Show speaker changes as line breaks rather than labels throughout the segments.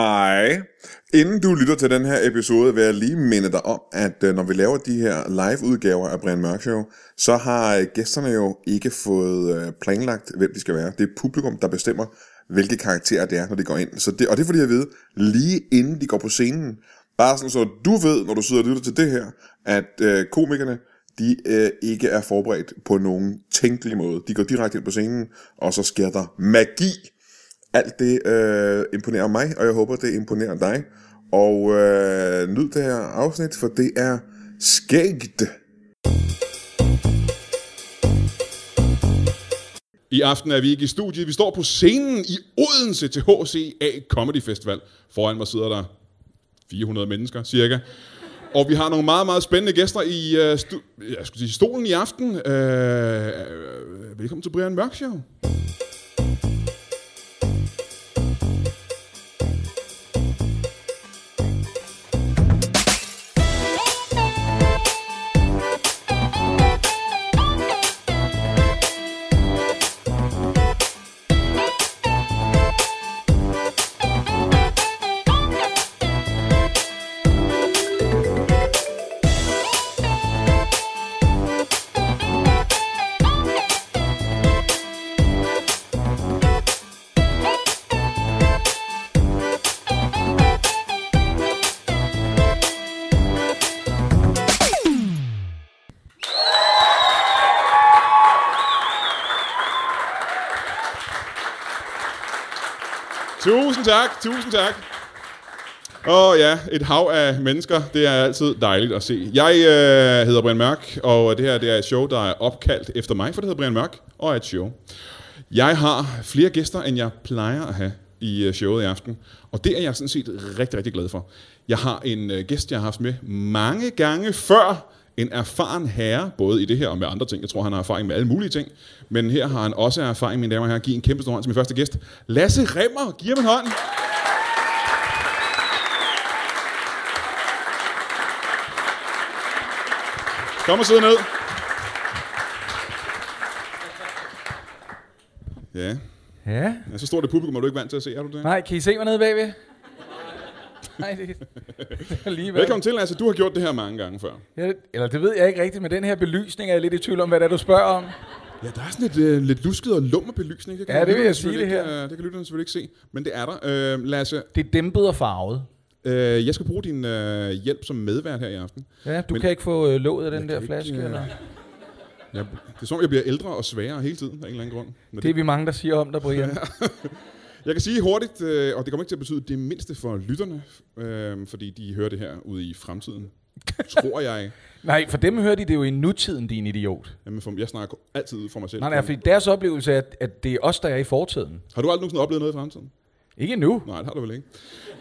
jeg, inden du lytter til den her episode, vil jeg lige minde dig om, at øh, når vi laver de her live-udgaver af Brian Mørk Show, så har øh, gæsterne jo ikke fået øh, planlagt, hvem de skal være. Det er publikum, der bestemmer, hvilke karakterer det er, når de går ind. Så det, og det får de at vide, lige inden de går på scenen. Bare sådan, så du ved, når du sidder og lytter til det her, at øh, komikerne, de øh, ikke er forberedt på nogen tænkelig måde. De går direkte ind på scenen, og så sker der magi. Alt det øh, imponerer mig, og jeg håber, det imponerer dig. Og øh, nyd det her afsnit, for det er skægt.
I aften er vi ikke i studiet. Vi står på scenen i Odense til HCA Comedy Festival. Foran mig sidder der 400 mennesker cirka. Og vi har nogle meget, meget spændende gæster i øh, stu- jeg skulle sige, stolen i aften. Øh, øh, velkommen til Brian Mørk Show. Tusind tak, tusind tak. Og ja, et hav af mennesker, det er altid dejligt at se. Jeg øh, hedder Brian Mørk, og det her det er et show, der er opkaldt efter mig, for det hedder Brian Mørk, og er et show. Jeg har flere gæster, end jeg plejer at have i øh, showet i aften, og det er jeg sådan set rigtig, rigtig glad for. Jeg har en øh, gæst, jeg har haft med mange gange før, en erfaren herre, både i det her og med andre ting. Jeg tror, han har erfaring med alle mulige ting. Men her har han også erfaring, mine damer og herrer. Giv en kæmpe stor hånd til min første gæst. Lasse Remmer, giv ham en hånd. Kom og sidde ned. Ja.
Ja.
ja, så stort et publikum er du ikke vant til at se, er du det?
Nej, kan I se mig nede bagved? Nej, det, det er lige
Velkommen til, altså. Du har gjort det her mange gange før.
Ja, eller det ved jeg ikke rigtigt, men den her belysning er jeg lidt i tvivl om, hvad det er, du spørger om.
Ja, der er sådan lidt, øh, lidt lusket og lummer belysning. Det kan
Ja, det vil
lytterne
jeg sige,
selvfølgelig
det
ikke,
her.
øh, det kan lytterne selvfølgelig ikke se, men det er der. Øh, Lasse,
Det er dæmpet og farvet.
øh, jeg skal bruge din øh, hjælp som medvært her i aften.
Ja, du
Men-
men, kan ikke få øh, låget af den der
kan
flaske.
ikke, øh,
eller?
Jeg, det er som om, jeg bliver ældre og sværere hele tiden af en eller anden grund. Men
Det er
det,
vi mange, der siger om dig, Brian.
jeg kan sige hurtigt, øh, og det kommer ikke til at betyde det mindste for lytterne, øh, fordi de hører det her ude i fremtiden. Tror jeg.
Nej, for dem hører de det jo i nutiden, din idiot.
Jamen, for, jeg snakker altid ud for mig selv.
Nej, nej, fordi deres oplevelse er, at- at det er os, der er i fortiden.
Har du aldrig nogensinde oplevet noget i fremtiden?
Ikke nu,
Nej, det har du vel ikke.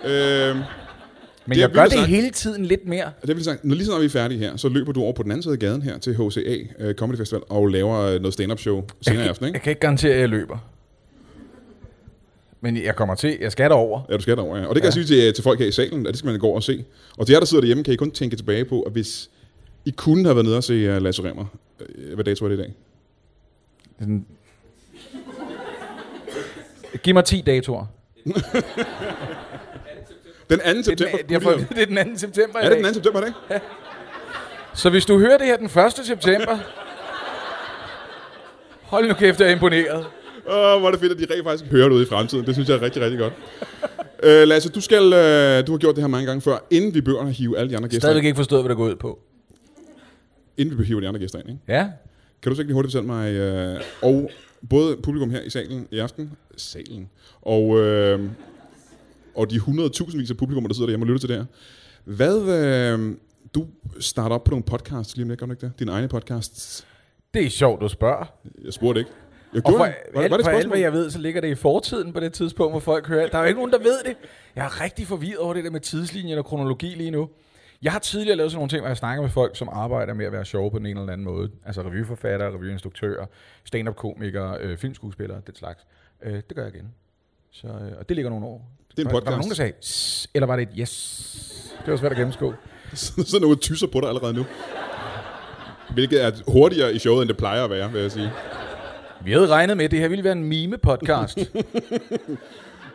Øh,
men
Det er
jeg gør
vildt
det
sagt.
hele tiden lidt mere.
Og Det vil sige, når lige snart vi er færdige her, så løber du over på den anden side af gaden her til HCA øh, Comedy Festival og laver øh, noget stand-up show senere i aften, ikke?
Jeg kan ikke garantere, at jeg løber. Men jeg kommer til. Jeg skal derover.
Ja, du skal derover, ja. Og det kan ja. jeg sige til, til folk her i salen, at det skal man gå og se. Og til jer, der sidder derhjemme, kan I kun tænke tilbage på, at hvis I kunne have været nede og se uh, Lasse Remmer, øh, hvad dato er det i dag?
Den... Giv mig 10 datoer.
Den 2.
Det er
september.
den, jeg får,
kunne
at
de
vide, det er den 2. september i
have- er det den
dag.
2. september i dag?
Så hvis du hører det her den 1. september... hold nu kæft, jeg er imponeret.
Åh, hvor er det fedt, at de rent faktisk hører det ude i fremtiden. Det synes jeg er rigtig, rigtig godt. Øh, Lasse, du, skal, øh, du har gjort det her mange gange før, inden vi begynder at hive alle de andre gæster
Stadigvæk
ind.
ikke forstået, hvad der går ud på.
Inden vi hiver de andre gæster ind, ikke?
Ja.
Kan du så ikke lige hurtigt fortælle mig, øh, og både publikum her i salen i aften, salen, og, øh, og de 100.000 vis af publikum, der sidder derhjemme og lytter til det her. Hvad, øh, du starter op på nogle podcasts lige om lidt, gør du ikke det? Dine egne podcasts.
Det er sjovt, du spørger.
Jeg spurgte ikke. Jeg
Og
gjorde
for,
det. Var,
alt,
var det et
for alt, hvad
spørgsmål?
jeg ved, så ligger det i fortiden på det tidspunkt, hvor folk hører. alt. Der er jo ikke nogen, der ved det. Jeg er rigtig forvirret over det der med tidslinjen og kronologi lige nu. Jeg har tidligere lavet sådan nogle ting, hvor jeg snakker med folk, som arbejder med at være sjove på den ene eller anden måde. Altså revyforfattere, revyinstruktører, stand-up-komikere, øh, filmskuespillere, den slags. Øh, det gør jeg igen. Så, øh, og det ligger nogle år.
Det er en
Var- Var
podcast.
der nogen, der sagde, "Sss", eller var det et yes? Det var svært at gennemskue.
Så sidder nogle tyser på dig allerede nu. Hvilket er hurtigere i showet, end det plejer at være, vil jeg sige.
Vi havde regnet med, at det her ville være en meme-podcast.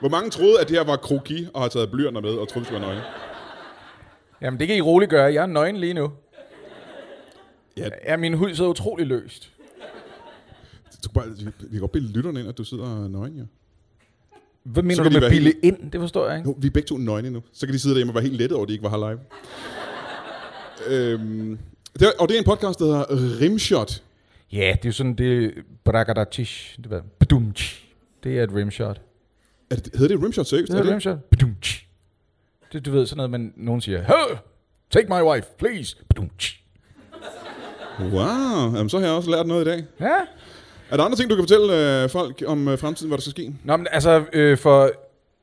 Hvor mange troede, at det her var kroki og har taget blyanter med og troede, det var nøgne?
Jamen, det kan I roligt gøre. Jeg er nøgen lige nu.
Ja.
Ja. ja min hud sidder utrolig løst.
Du kan bare- Vi kan godt bilde lytterne ind, at du sidder nøgen, ja.
Hvad
Så
mener
kan
du
de
med
være
billig ind? Det forstår jeg ikke.
Jo, vi er begge to nøgne nu. Så kan de sidde derhjemme og være helt lettet over, at de ikke var her live. øhm, det, er- og det er en podcast, der hedder Rimshot.
Ja, det er jo sådan, det brakadatish. Det var badumch. Det er et rimshot.
Er det, hedder det Rimshot seriøst?
Det er et rimshot. Badumch. Det du ved, sådan noget, man nogen siger, Hey, take my wife, please. Badumch.
Wow, Jamen, så har jeg også lært noget i dag.
Ja.
Er der andre ting, du kan fortælle øh, folk om øh, fremtiden, hvad der skal ske?
Nå, men altså, øh, for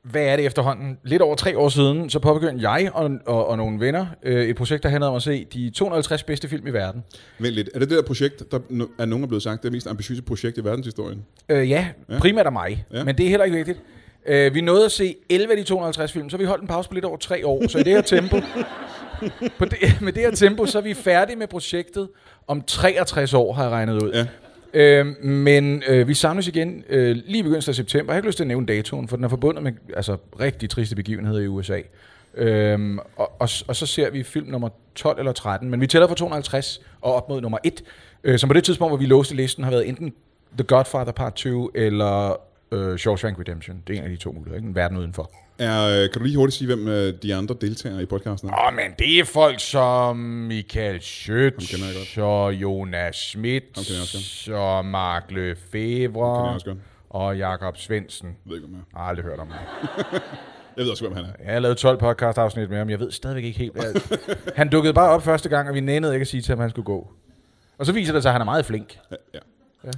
hvad er det efterhånden? Lidt over tre år siden, så påbegyndte jeg og, og, og nogle venner øh, et projekt, der handlede om at se de 250 bedste film i verden.
Vent lidt. Er det det der projekt, der no- er nogen er blevet sagt, det er mest ambitiøse projekt i verdenshistorien?
Øh, ja, ja, primært af mig,
Ja.
ja. men det er heller ikke vigtigt. Øh, vi nåede at se 11 af de 250 film, så vi holdt en pause på lidt over tre år, så i det her tempo, på det, med det her tempo, så er vi færdige med projektet om 63 år, har jeg regnet ud.
Ja.
Øh, men øh, vi samles igen øh, lige begyndelsen af september. Jeg har ikke lyst til at nævne datoen, for den er forbundet med altså, rigtig triste begivenheder i USA. Øhm, og, og, s- og så ser vi film nummer 12 eller 13, men vi tæller fra 250 og op mod nummer 1, øh, som på det tidspunkt, hvor vi låste listen, har været enten The Godfather Part 2 eller øh, Shawshank Redemption. Det er en af de to muligheder, ikke? En verden udenfor.
Er, øh, kan du lige hurtigt sige, hvem øh, de andre deltagere i podcasten er?
Åh, oh, men det er folk som Michael
kender jeg godt.
Schøtz, og Jonas Schmidt,
kender jeg også
og Mark
kender jeg
Lefebvre,
også godt.
og Jakob Svendsen.
Jeg ved ikke, hvem han er.
Jeg har aldrig hørt om ham.
Jeg ved også, hvem han er.
Jeg har lavet 12 podcast-afsnit med ham, jeg ved stadigvæk ikke helt. Hvad. han dukkede bare op første gang, og vi nændede ikke at sige til ham, at han skulle gå. Og så viser det sig, at han er meget flink.
Ja. ja.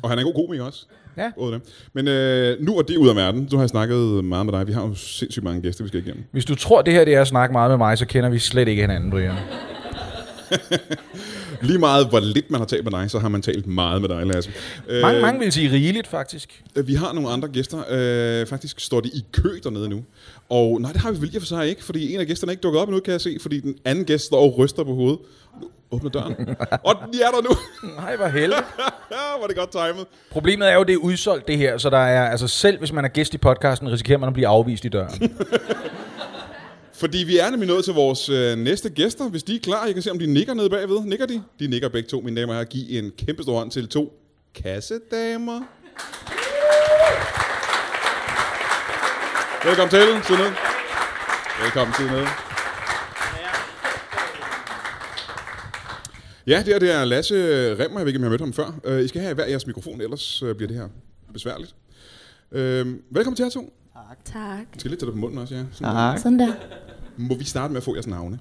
Og han er en god komiker også.
Ja.
Både det. Men øh, nu er det ud af verden. Du har jeg snakket meget med dig. Vi har jo sindssygt mange gæster, vi skal igennem.
Hvis du tror, det her det er at snakke meget med mig, så kender vi slet ikke hinanden, Brian.
Lige meget, hvor lidt man har talt med dig, så har man talt meget med dig, Lasse.
Mange, mange vil sige rigeligt, faktisk.
Øh, vi har nogle andre gæster. Øh, faktisk står de i kø dernede nu. Og nej, det har vi vel i og for sig ikke, fordi en af gæsterne er ikke dukket op endnu, kan jeg se, fordi den anden gæst står og ryster på hovedet. Nu åbner døren. og de er der nu.
Nej, hvor heldig.
Ja, Hvor er det godt timet.
Problemet er jo, det er udsolgt, det her. Så der er, altså selv hvis man er gæst i podcasten, risikerer man at blive afvist i døren.
Fordi vi er nemlig nået til vores øh, næste gæster. Hvis de er klar, jeg kan se, om de nikker nede bagved. Nikker de? De nikker begge to, mine damer og herrer. Giv en kæmpe stor hånd til to kassedamer. Velkommen til. Sid ned. Velkommen til ned. Ja, det her det er Lasse Remmer. Jeg ved ikke, om jeg har mødt ham før. Øh, I skal have hver jeres mikrofon, ellers øh, bliver det her besværligt. Øh, velkommen til jer to.
Tak.
Jeg skal lidt til dig på munden også, ja. Sådan der.
Sådan der.
Må vi starte med at få jeres navne?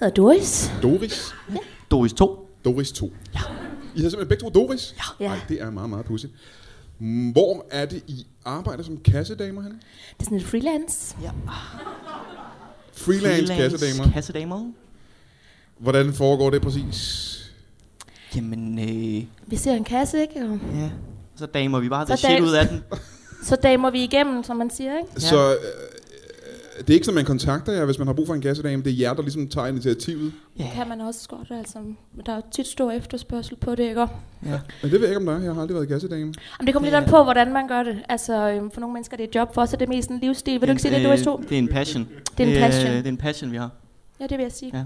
Jeg hedder Doris.
Doris.
Doris 2.
Doris 2. Ja. I hedder simpelthen begge to Doris?
Ja.
Nej, det er meget, meget pudsigt. Mm, Hvor er det, I arbejder som kassedamer, han?
Det er sådan lidt freelance.
Freelance, kassedamer.
Kassedamer.
Hvordan foregår det præcis?
Jamen, øh,
Vi ser en kasse, ikke? Og
ja. Så damer vi bare det
Så
shit
dam-
ud af den.
så damer vi igennem, som man siger, ikke?
Ja. Så øh, det er ikke sådan, man kontakter jer, hvis man har brug for en kassedame. Det er jer, der ligesom tager initiativet.
Det kan man også godt, altså. Men Der er tit stor efterspørgsel på det, ikke? Jamen,
Ja.
Men det ved jeg ikke om dig. Jeg har aldrig været kassedame.
det kommer lidt an på, hvordan man gør det. Altså, øhm, for nogle mennesker det er et job, for os er det mest en livsstil. Vil du ikke sige det, Doris 2?
Øh, Det er en passion.
er en
øh,
passion.
Det er en passion, vi har.
Ja, det vil jeg sige.
Ja.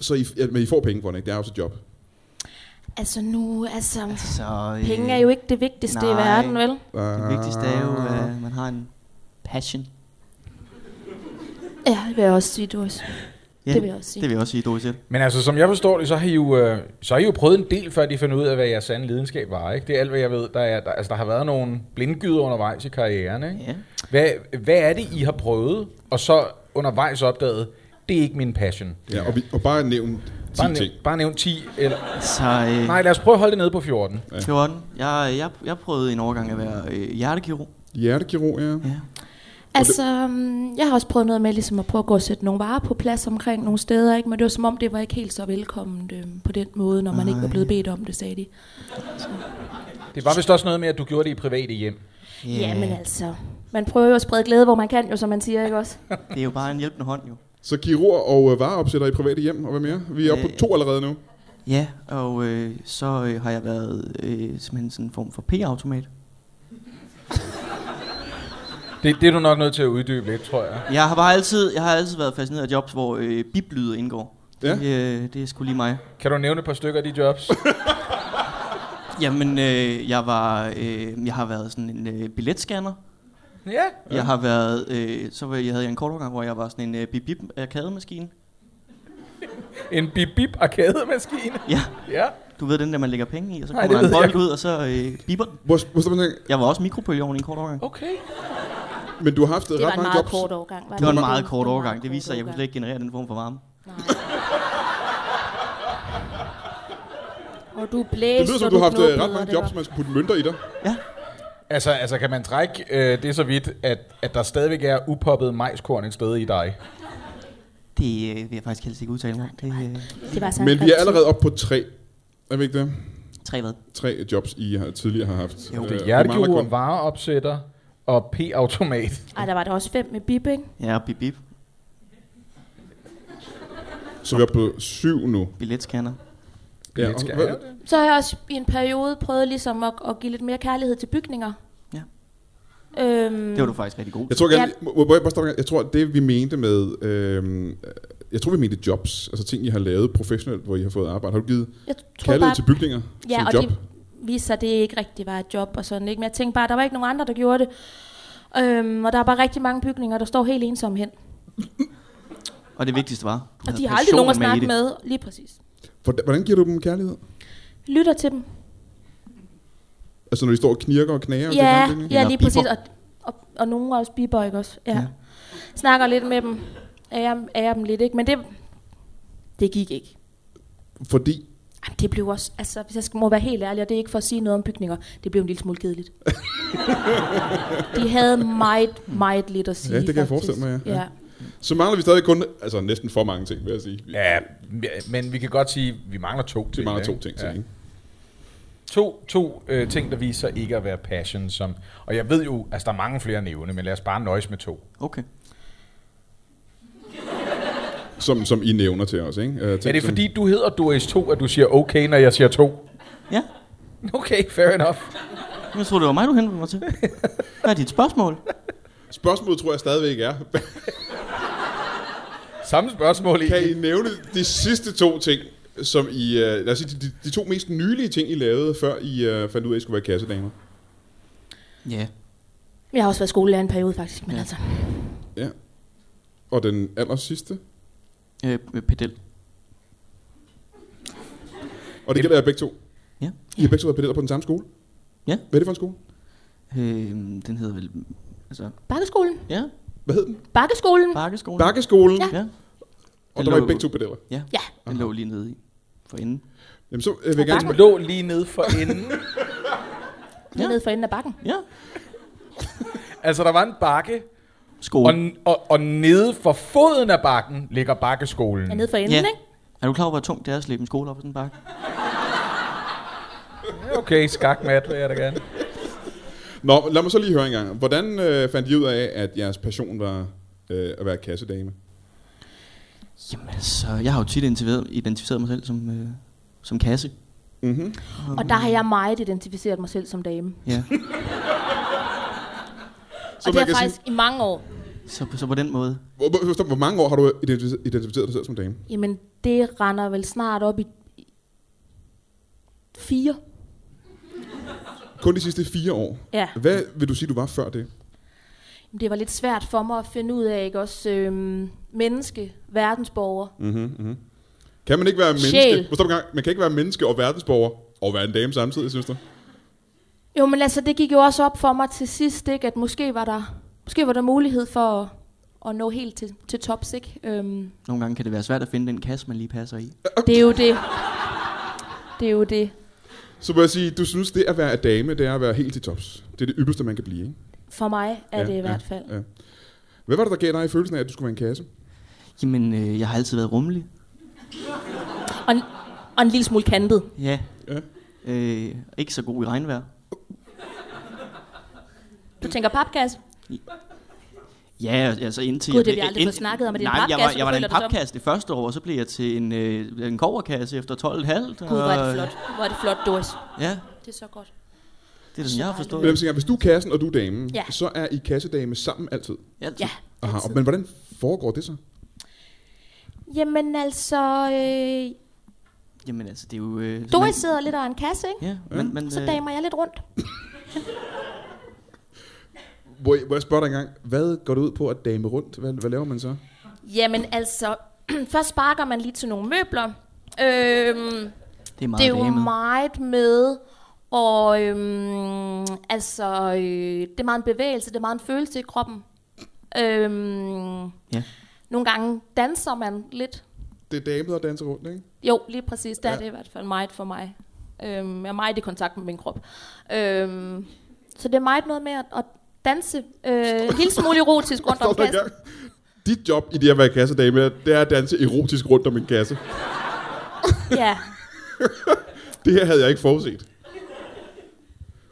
Så I, ja, men I får penge for det, ikke? Det er også et job.
Altså nu, altså...
Så, øh,
Penge er jo ikke det vigtigste i
nej.
verden, vel?
Det vigtigste er jo,
Ah.
at øh, man har en passion.
Ja, det vil jeg også sige, Doris.
Ja,
Det vil jeg også sige.
Det vil jeg også sige, Doris 1.
Men altså, som jeg forstår det, så har I jo, øh, så har I jo prøvet en del, før de fandt ud af, hvad jeres sande lidenskab var. Ikke? Det er alt, hvad jeg ved. Der, er, der, altså, der har været nogle blindgyder undervejs i karrieren. Ikke?
Ja.
Hvad, hvad er det, I har prøvet, og så undervejs opdaget, det er ikke min passion?
Ja, og, vi, og bare nævn 10
Bare,
ting.
nævn, bare nævn 10. Eller,
Så, øh,
nej, lad os prøve at holde det nede på 14.
14. Jeg, jeg, jeg prøvede en overgang at være øh, hjertekirurg.
Hjertekirurg, ja.
Ja.
Altså, øhm, jeg har også prøvet noget med ligesom at prøve at gå og sætte nogle varer på plads omkring nogle steder, ikke? men det var som om, det var ikke helt så velkomment øhm, på den måde, når man ikke var blevet bedt om det, sagde de.
Det var vist også noget med, at du gjorde det i private hjem.
Yeah. Jamen altså, man prøver jo at sprede glæde, hvor man kan jo, som man siger, ikke også?
Det er jo bare en hjælpende hånd, jo.
Så kirurg og øh, vareopsætter i private hjem, og hvad mere? Vi er oppe på
Øh.
to allerede nu.
Ja, og øh, så øh, har jeg været øh, simpelthen sådan en form for P-automat.
Det, det er du nok nødt til at uddybe lidt, tror jeg.
Jeg har bare altid, jeg har altid været fascineret af jobs, hvor øh, biblyde indgår.
Ja.
Det, øh, det er sgu lige mig.
Kan du nævne et par stykker af de jobs?
Jamen, øh, jeg, var, øh, jeg har været sådan en øh, billetscanner.
ja.
Jeg har været, øh, så var, jeg havde jeg en kort overgang, hvor jeg var sådan en øh, bip bip arkademaskine.
En bip-bip arkademaskine.
Ja,
Ja.
du ved den der, man lægger penge i, og så
Nej,
kommer
det
der en
ved jeg
bold ud, og så øh, biber den.
Hvor, hvor står man tænker,
Jeg var også mikropølgeovn i en kort overgang.
Okay.
men du har haft
Det var
ret
en
mange
meget
jobs.
kort overgang.
Det var en
ikke?
meget
var
kort
en
overgang.
meget
Det viste sig, at jeg kunne
kort
slet ikke generere den form for varme.
overgang. Og du
Det
blæste,
lyder som,
og
du har haft øh,
knoppede,
ret
og
mange
det
jobs,
var-
man skulle putte mønter i dig.
Altså, altså kan man trække øh, det så vidt, at, at der stadigvæk er upoppet majskorn et sted i
Øh,
dig?
Det øh, vil jeg faktisk helst ikke udtale mig om. Det er øh,
Det var så
Men vi er
fantastisk.
allerede oppe på tre. Er vi ikke det?
øh, tre hvad?
Tre jobs, I har, tidligere har haft.
Jo, det er
Øh, vi mangler
Hjertegiver,
kun-
vareopsætter og p-automat.
Ej, der var der også fem med bip, ikke?
Ja, bip bip.
Så vi er oppe på syv nu.
Billetscanner.
Ja,
Lidt skal-
og-
Ja,
Så har jeg også i en periode prøvet ligesom at, at give lidt mere kærlighed til bygninger.
Ja.
Øhm,
Det var du faktisk rigtig god.
Jeg tror, gerne,
Ja.
må- må jeg, bare stoppe en gang? jeg tror, at det vi mente med... Øhm, jeg tror, vi mente jobs. Altså ting, I har lavet professionelt, hvor I har fået arbejde. Har du givet
jeg tror
kaldet
bare,
til bygninger
ja,
som
og
job?
det viste sig, at det ikke rigtig var et job og sådan, ikke? Men jeg tænkte bare, at der var ikke nogen andre, der gjorde det. Øhm, og der er bare rigtig mange bygninger, der står helt ensomme hen.
Og det vigtigste var, du
Og
havde
de har aldrig nogen at
passion i
snakke
det.
med, lige præcis.
Hvordan, hvordan giver du dem kærlighed?
Lytter til dem.
Altså når de står og knirker og knager? og
Ja,
det,
ja
Eller
lige
biber.
præcis. Og, og, og nogen er også biber, ikke også? Ja.
Ja.
ja. Snakker lidt med dem. Ærer, ærer dem lidt, ikke? Men det, det gik ikke.
Fordi
Jamen, det blev også, altså hvis jeg skal- må være helt ærlig, og det er ikke for at sige noget om bygninger, det blev en lille smule kedeligt. de havde meget, meget lidt at sige.
Ja, det kan jeg
faktisk.
forestille mig, ja.
ja.
så mangler vi stadig kun altså, næsten for mange ting, vil jeg sige.
ja, men vi kan godt sige, at vi mangler to ting.
Vi mangler to
ikke?
ting til. Ja.
To, to øh, ting, der viser sig ikke at være passion. Som, og jeg ved jo, at altså, der er mange flere at nævne, men lad os bare nøjes med to.
Okay.
Som, som I nævner til os. Ikke? Uh,
Er det fordi, du hedder Doris 2, at du siger okay, når jeg siger to?
Ja,
Okay, fair enough.
jeg tror, det var mig, du henvendte mig til. Hvad er dit spørgsmål?
Spørgsmålet tror jeg stadigvæk er,
Samme spørgsmål i.
kan I nævne de sidste to ting, som I, uh, lad os sige, de, de, de to mest nylige ting, I lavede, før I uh, fandt ud af, at I skulle være kassedamer?
Ja.
Jeg har også været skolelærer en periode faktisk, men
Ja.
ja. altså,
Ja. Og den aller sidste,
Øh, øh, pedel.
og det gælder jer begge to.
Ja.
I har begge to været pedeller på den samme skole?
Ja.
Hvad er det for en skole?
Øh, den hedder vel... Altså,
bakkeskolen.
ja,
Hvad hed den?
Bakkeskolen.
Bakkeskolen.
Bakkeskolen, ja.
Ja.
og der var I begge to pedeller.
Ja,
Ja.
den lå lige nede i. For enden.
Jamen så øh, vil jeg gerne
Og
Den
spørge,
lå lige nede for enden.
Ja. Nede for enden af bakken.
Ja.
altså, der var en bakke, og,
Skolen.
og, og nede for foden af bakken ligger bakkeskolen.
Ja, nede for enden,
Ja.
ja. ikke?
Er du klar over, hvor tungt det er at slæbe en skole op ad sådan en bakke?
Okay, skakmat vil jeg da gerne.
Nå, lad mig så lige høre en gang. Hvordan øh, fandt I ud af, at jeres passion var øh, at være kassedame?
Jamen altså, jeg har jo tit identificeret, identificeret mig selv som, øh, som kasse.
Mm-hmm.
Og der har jeg meget identificeret mig selv som dame.
Ja.
Så og det
man kan
har jeg faktisk sige... i mange år.
Så, så på den måde.
Hvor, hvor, stop, hvor mange år har du identifi- identificeret dig selv som dame?
Jamen, det render vel snart op i i- fire.
Kun de sidste fire år.
Ja.
Hvad vil du sige, du var før det?
Jamen, Det var lidt svært for mig at finde ud af, ikke også? Øhm, menneske, verdensborger.
Kan man ikke være menneske?
Sjæl.
Hvor stop en gang. Man kan ikke være menneske og verdensborger og være en dame samtidig, synes du?
Jo, men altså, det gik jo også op for mig til sidst, ikke? At måske var der, måske var der mulighed for at, at nå helt til, til tops, ikke? Øhm,
Nogle gange kan det være svært at finde den kasse, man lige passer i.
det er jo det. Det er jo det.
Så må jeg sige, du synes, det at være dame, det er at være helt til tops. Det er det ypperste, man kan blive, ikke?
For mig er
Ja,
ja, det i
ja,
hvert fald.
ja. Hvad var det, der gav dig i følelsen af, at du skulle være en kasse?
Jamen, øh, jeg har altid været rummelig.
Og, en, og en lille smule kantet.
Ja.
Ja.
Øh, ikke så god i regnvejr.
Du tænker papkasse?
Ja, altså indtil...
Gud,
jeg
det har
blev-
vi aldrig
ind-
fået snakket om, at det er en
Nej, jeg var,
papkasse,
jeg var
du
da en
føler dig som.
papkasse det første år, og så blev jeg til en, øh, en koverkasse efter 12,5.
Gud, hvor er det flot. Hvor er det flot, Doris.
Ja,
Det er så godt.
Det er sådan, jeg har forstået.
Men jeg siger, hvis du er kassen, og du er damen,
Ja.
så er I kassedame sammen altid.
Altid.
Ja.
Aha, og, men hvordan foregår det så?
Jamen altså, øh,
Jamen altså, det er jo... Øh, så
Doris
man-
sidder lidt over en kasse, ikke?
Ja, men, men,
Så
øh,
damer jeg lidt rundt.
Hvor, jeg- hvor jeg spørger dig engang, hvad går det ud på at dame rundt? Hvad, hvad laver man så?
Jamen altså, først sparker man lige til nogle møbler. Øhm,
det er meget
det er jo
damet.
meget med, og øhm, altså, øh, det er meget en bevægelse, det er meget en følelse i kroppen. Øhm,
Ja.
nogle gange danser man lidt.
Det er damen, der danser rundt, ikke?
Jo, lige præcis, der ja.
Ja.
er det i hvert fald meget for mig. Øhm, jeg er meget i kontakt med min krop. Øhm, så det er meget noget med at, at danse øh, en lille smule erotisk rundt om
Stop dig
kassen.
engang. Dit job i det at være kassedame, det er at danse erotisk rundt om en kasse.
Ja,
Det her havde jeg ikke forudset.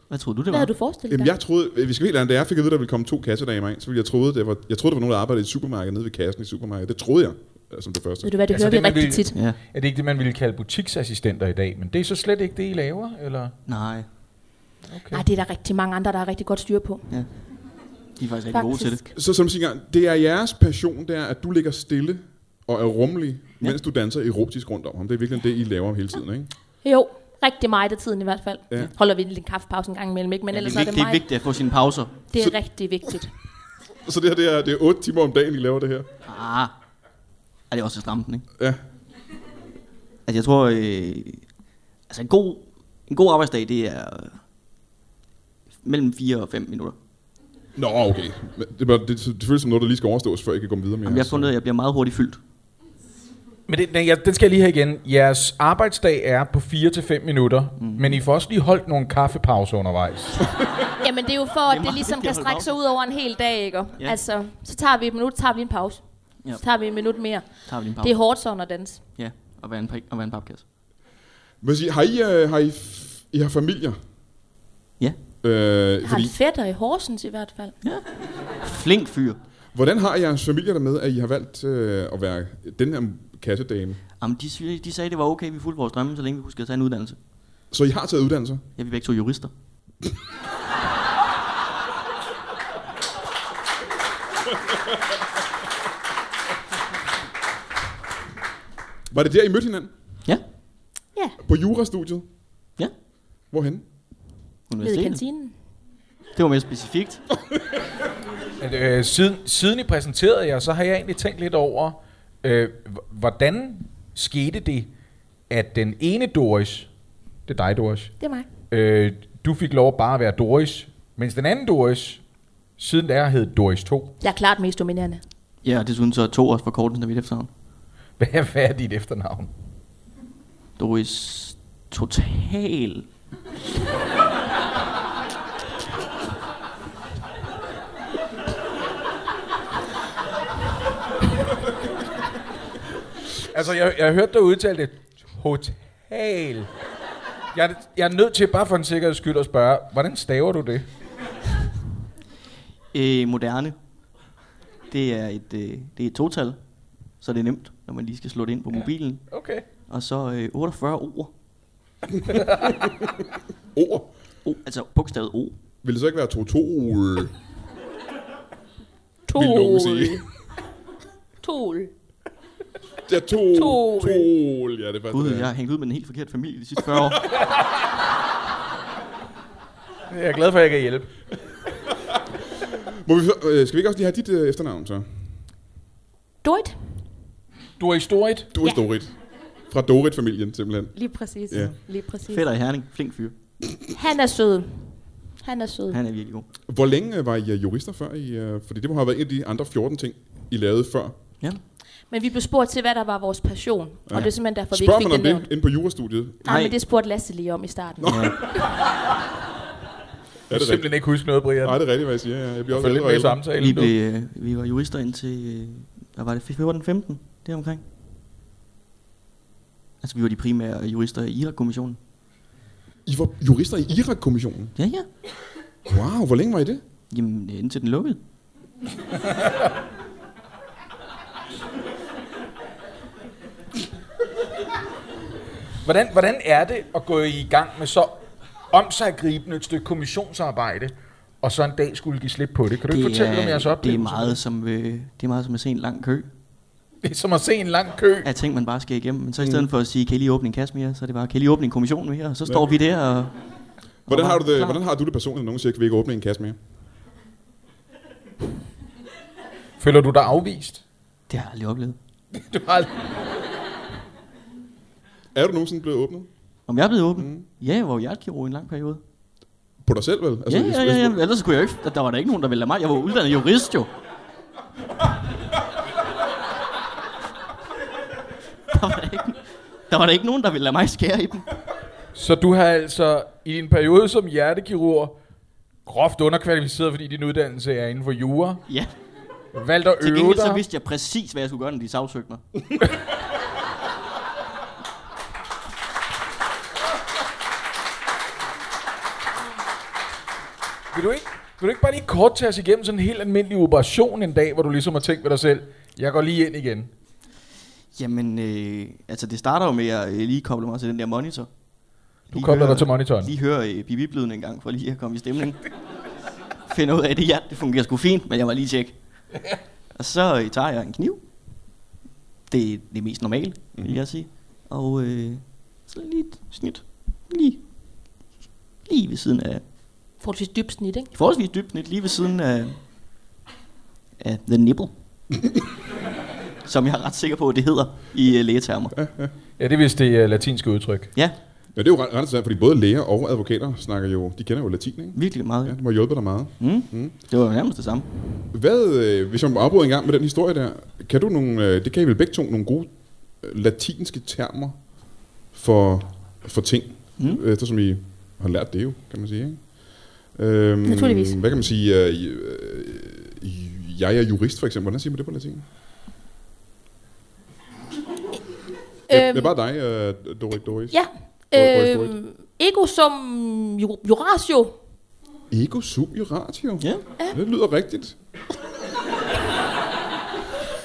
Hvad troede du, det
hvad
var?
havde du forestillet
Jamen,
dig?
jeg troede, hvis vi helt andet, da jeg fik at vide, at der ville komme to kassedamer ind, så ville jeg troede, det var, jeg troede, der var nogen, der arbejdede i et supermarked nede ved kassen i supermarkedet. Det troede jeg, øh, som det første.
Ved du hvad, det
Altså,
hører
det,
vi
man
rigtig
ville-
tit.
Ja.
Er det ikke det, man ville kalde butiksassistenter i dag? Men det er så slet ikke det, I laver, eller?
Nej,
Okay.
Nej, det er der rigtig mange andre, der har rigtig godt styr på.
de er faktisk rigtig gode til det.
Faktisk.
Så som siger, det er jeres passion, det er, at du ligger stille og er rummelig, ja. mens du danser erotisk rundt om ham. Det er virkelig det, I laver hele tiden, ikke?
Jo, rigtig meget af tiden i hvert fald.
Ja.
Ja. Holder vi en lille kaffepause en gang imellem, ikke? Men
Ja,
ja,
det,
ellers
er
er
vigtigt,
det
det er
meget.
vigtigt at få sine pauser.
Det er
Så-
rigtig vigtigt.
Så det her, det er, det er 8 timer om dagen, I laver det her.
Ah, er det er også stramt, ikke?
Ja.
Altså, jeg tror, øh, altså en god, en god arbejdsdag, det er øh, mellem 4 og 5 minutter.
Nå, okay. Men Det, var, det, det føles som noget, der lige skal overstås, før I kan komme videre med
Jamen, jeg har
jeres-
fundet, ud af, at jeg bliver meget hurtigt fyldt.
Men den, den, jeg, den skal jeg lige have igen. Jeres arbejdsdag er på 4-5 minutter, mm. men I får også lige holdt nogle kaffepauser undervejs.
Jamen, det er jo for, at
Det er
det,
meget
ligesom
vigtigt
kan
at holde
strække sig ud over en hel dag, ikke?
Ja.
Ja. Altså, så tager vi et minut, tager vi en pause.
Ja.
Ja. Så tager vi en minut mere.
Tager vi din pause.
Det er hårdt sådan at danse.
Ja, og være en, prik- og være en papkasse.
Men sig, har I, øh, har I, f- I har familier?
Ja.
Øh,
Jeg har
fordi,
en fætter i Horsens i hvert fald.
Flink fyr.
hvordan har jeres familier der med, at I har valgt øh, at være den her kassedame?
Jamen, de, sy- de sagde, det var okay, vi fulgte vores drømme, så længe vi huskede at tage en uddannelse.
Så I har taget uddannelser?
Ja, vi er begge to jurister.
Var det der, I mødte hinanden?
Ja,
Ja,
På jurastudiet?
ja.
Hvorhen?
nede i
Universitetet.
kantinen.
Det var mere specifikt.
At, øh, siden, siden I præsenterede jer, så har jeg egentlig tænkt lidt over, øh, h- hvordan skete det, at den ene Doris, det er dig Doris,
Det er mig.
øh, du fik lov bare at være Doris, mens den anden Doris, siden der hed Doris 2.
Jeg er klart mest dominerende.
Ja, og desuden så er to års forkortelsen af mit efternavn.
Hvad er, hvad er dit efternavn?
Doris Total.
Altså, jeg, jeg hørte dig udtale det total. Jeg, jeg er nødt til bare for en sikkerheds skyld at spørge, hvordan staver du det?
Øh, moderne. Det er et, øh, det er et total, så det er nemt, når man lige skal slå det ind på mobilen.
Okay.
Og så øh, 48 ord.
Ord?
O, altså bogstavet O.
Vil det så ikke være totol?
Tol.
Ville nogen sige.
Tol.
Ja, tol.
Tol.
Tol. Ja, det er faktisk
Gud,
det.
jeg har hængt ud med en helt forkert familie de sidste 40 år.
Jeg er glad for, at jeg kan hjælpe.
Må vi, så- øh, skal vi ikke også lige have dit øh, efternavn så?
Do it.
Du er historiet.
Du er
Ja.
Dorit. Fra Dorit-familien, simpelthen.
Lige præcis.
Ja.
Lige præcis.
Fætter i Herning, flink fyr.
Mm. Han er sød. Han er sød.
Han er virkelig god.
Hvor længe øh, var I øh, jurister før? I, øh, fordi det må have været en af de andre 14 ting, I lavede før.
Ja.
Men vi blev spurgt til, hvad der var vores passion. Ja. Og det er simpelthen derfor, vi
Spørger
ikke
man
fik
om
det
det
nævnt.
inde på jurastudiet?
Nej,
Nej.
men det spurgte Lasse lige om i starten.
ja.
Er
Jeg
det
kan
rigtigt?
simpelthen ikke huske noget, Brian.
Nej, det er rigtigt, hvad jeg siger. Ja, jeg bliver
Jeg
også
følger lidt
ældre
med
og ældre.
i samtalen.
Vi,
nu.
blev, øh, vi var jurister indtil, øh, hvad var det, 14-15, det omkring. Altså, vi var de primære jurister i Irak-kommissionen.
I var jurister i Irak-kommissionen.
Ja, ja.
Wow, hvor længe var I det?
Jamen, øh, indtil den lukkede.
Hvordan, hvordan er det at gå i gang med så omsaggribende et stykke kommissionsarbejde, og så en dag skulle give slip på det. Kan du ikke fortælle om jeres
det, er
oplevelse?
meget som, øh, det er meget som at se en lang kø
Det er som at se en lang kø.
af ting, man bare skal igennem. Men så i
Mm.
stedet for at sige, kan I lige åbne en kasse mere, så er det bare, kan I lige åbne en kommission mere, og så står vi der og...
Hvordan har, du det,
Klar.
hvordan har du det personligt, når nogen siger, at vi ikke åbne en kasse mere?
Føler du dig afvist?
Det har jeg aldrig oplevet.
Du har...
Er du nogensinde blevet åbnet?
Om jeg er blevet åben? Mm. Ja, jeg var jo hjertekirurg i en lang periode.
På dig selv, vel?
Altså, ja,
hvis-
ja,
hvis-
ja, ja, ellers skulle jeg jo ikke... Der, der var der ikke nogen, der ville lade mig. Jeg var uddannet jurist jo. Der var der ikke, der var der ikke nogen, der ville lade mig skære i dem.
Så du har altså i en periode som hjertekirurg groft underkvalificeret, fordi din uddannelse er inden for jura,
Ja,
valgt at
til
øve
gengæld så
dig.
vidste jeg præcis, hvad jeg skulle gøre, når de sagsøgte mig.
Vil du ikke, vil du ikke bare lige kort tage os igennem sådan en helt almindelig operation en dag, hvor du ligesom har tænkt ved dig selv, jeg går lige ind igen.
Jamen, øh, altså det starter jo med, at jeg øh, lige kobler mig til den der monitor.
Du kobler dig til monitoren.
Lige hører øh, bibiblyden en gang, for lige at komme i stemning. Finder ud af, at det, ja, det fungerer sgu fint, men jeg var lige tjek. Og så øh, tager jeg en kniv. Det er det mest normale, mm.
Mhm.
vil jeg sige. Og øh, så lige et snit. Lige. Lige ved siden af.
Forholdsvis dybt snit, ikke?
Forholdsvis dybt snit, lige ved siden af, af The Nipple. som jeg er ret sikker på, at det hedder i øh, lægetermer.
Ja, det er vist det uh, latinske udtryk.
Ja,
Ja, det er jo ret, ret interessant, fordi både læger og advokater snakker jo, de kender jo latin, ikke?
virkelig meget.
Ja,
Ja.
det må have hjulpet dig meget.
Mm. Mm. Det var jo nærmest det samme.
Hvad, øh, hvis jeg må afbryde en gang med den historie der, kan du nogle, øh, det kan I vel begge to, nogle gode øh, latinske termer for, for ting, mm. eftersom I har lært det jo, kan man sige, ikke? Øhm,
Naturligvis.
Hvad kan man sige? Øh, øh, jeg er jurist, for eksempel. Hvordan siger man det på latin? Øhm. Det er bare dig, øh, Dorit Doris.
Øhm. Ja.
Hvor- hvor- hvor-
Øhm, ego som ju- Horatio.
Ego sub i ratio.
Ja.
Det lyder rigtigt.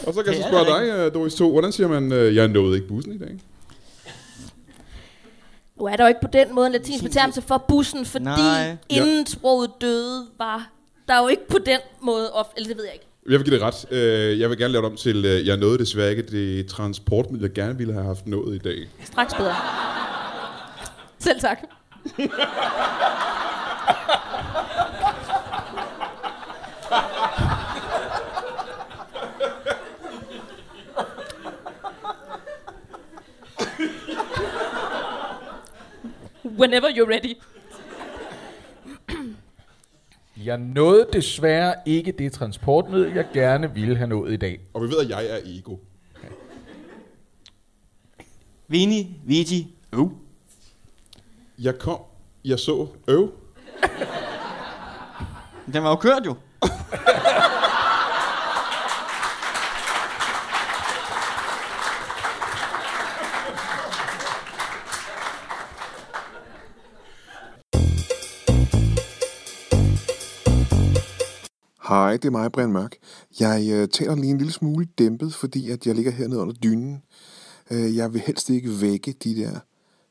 Og så kan jeg
Det
så
er
spørge
det
dig, øh, Doris 2, hvordan siger man, øh, jeg nåede ikke bussen i dag?
Nu er der jo ikke på den måde en latinsk betegnelse for bussen, fordi
Nej.
Nej. inden sproget døde, var der jo ikke på den måde ofte, eller det ved jeg ikke.
Jeg vil give det ret. Øh, Jeg vil gerne lave det om til, øh, jeg nåede desværre ikke det transportmiddel, jeg gerne ville have haft nået i dag.
Straks bedre. Selv tak. Whenever you're ready.
Jeg nåede desværre ikke det transportmiddel, jeg gerne ville have nået i dag.
Og vi ved, at jeg er ego.
Vini, Vigi, øv.
Jeg kom, jeg så, øv.
Den var jo kørt jo.
Hej, det er mig, Brian Mørk. Jeg øh, taler lige en lille smule dæmpet, fordi at jeg ligger hernede under dynen. Øh, jeg vil helst ikke vække de der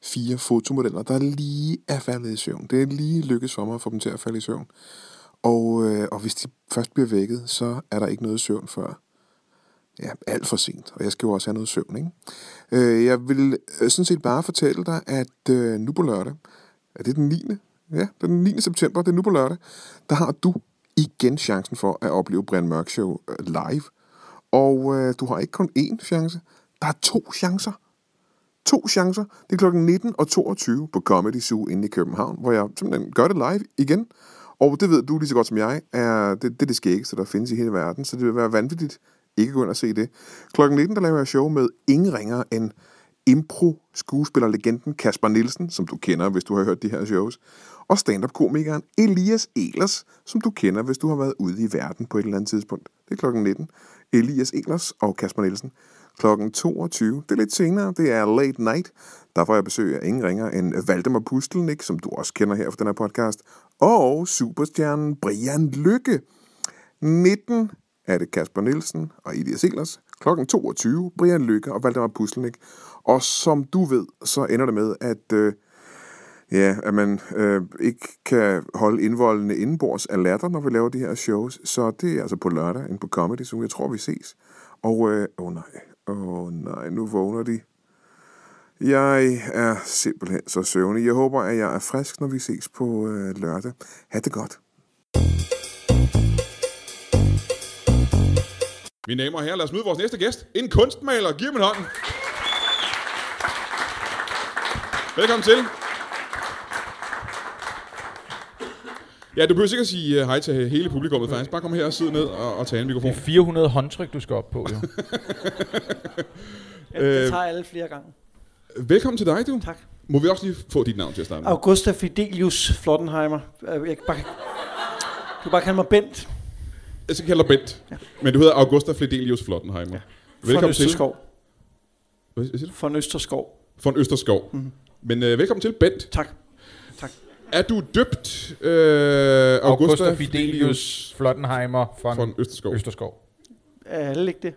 fire fotomodeller, der lige er faldet i søvn. Det er lige lykkedes for mig at få dem til at falde i søvn. Og, øh, og hvis de først bliver vækket, så er der ikke noget søvn før ja, alt for sent, og jeg skal jo også have noget søvn, ikke? Øh, jeg vil øh, sådan set bare fortælle dig, at øh, nu på lørdag, er det den 9. Ja, det er den 9. september, det er nu på lørdag, der har du igen chancen for at opleve Brian Mørk Show øh, live. Og øh, du har ikke kun én chance, der er to chancer. To chancer. Det er klokken 19 og 22 på Comedy Zoo inde i København, hvor jeg simpelthen gør det live igen. Og det ved du lige så godt som jeg, er det, det er det skæggeste, der findes i hele verden, så det vil være vanvittigt ikke at gå ind og se det. Klokken 19, der laver jeg show med ingen ringere end impro-skuespillerlegenden Kasper Nielsen, som du kender, hvis du har hørt de her shows, og stand-up-komikeren Elias Elers, som du kender, hvis du har været ude i verden på et eller andet tidspunkt. Det er klokken 19. Elias Elers og Kasper Nielsen. Klokken 22, det er lidt senere, det er Late Night. Der får jeg besøg af ingen ringer end Valdemar Pustelnik, som du også kender her fra den her podcast, og superstjernen Brian Lykke. 19 er det Kasper Nielsen og Elias Eglers. Klokken 22, Brian Lykke og Valdemar Pustelnik. Og som du ved, så ender det med, at øh, Ja, at man øh, ikke kan holde indvoldene indenbords af latter, når vi laver de her shows. Så det er altså på lørdag inde på Comedy Zoo. Jeg tror, vi ses. Og øh, åh nej, åh nej, nu vågner de. Jeg er simpelthen så søvnig. Jeg håber, at jeg er frisk, når vi ses på øh, lørdag. Ha' det godt.
Mine damer og herrer, lad os møde vores næste gæst. En kunstmaler. Giv ham en hånd. Velkommen til. Ja, du behøver sikkert sige øh, hej til hele publikummet, faktisk. Bare kom her og sidde ned og, og tage en mikrofon.
Det er 400 håndtryk, du skal op på, jo.
Ja, det tager alle flere gange.
Velkommen til dig, du.
Tak.
Må vi også lige få dit navn til at starte med?
Augusta Fidelius Flottenheimer. Øh, Jeg kan bare, du kan bare kalde mig Bent.
Jeg skal kalde dig Bent. Ja. Men du hedder Augusta Fledelius Flottenheimer. Ja.
Von
Velkommen til.
Østerskov.
Hvad siger du?
Von Østerskov.
Von Østerskov. Mm-hmm. Men øh, velkommen til, Bent.
Tak.
Er du døbt øh, Augusta,
Augusta Fidelius Flottenheimer von,
Von Østerskov?
Østerskov.
Er alle ikke det?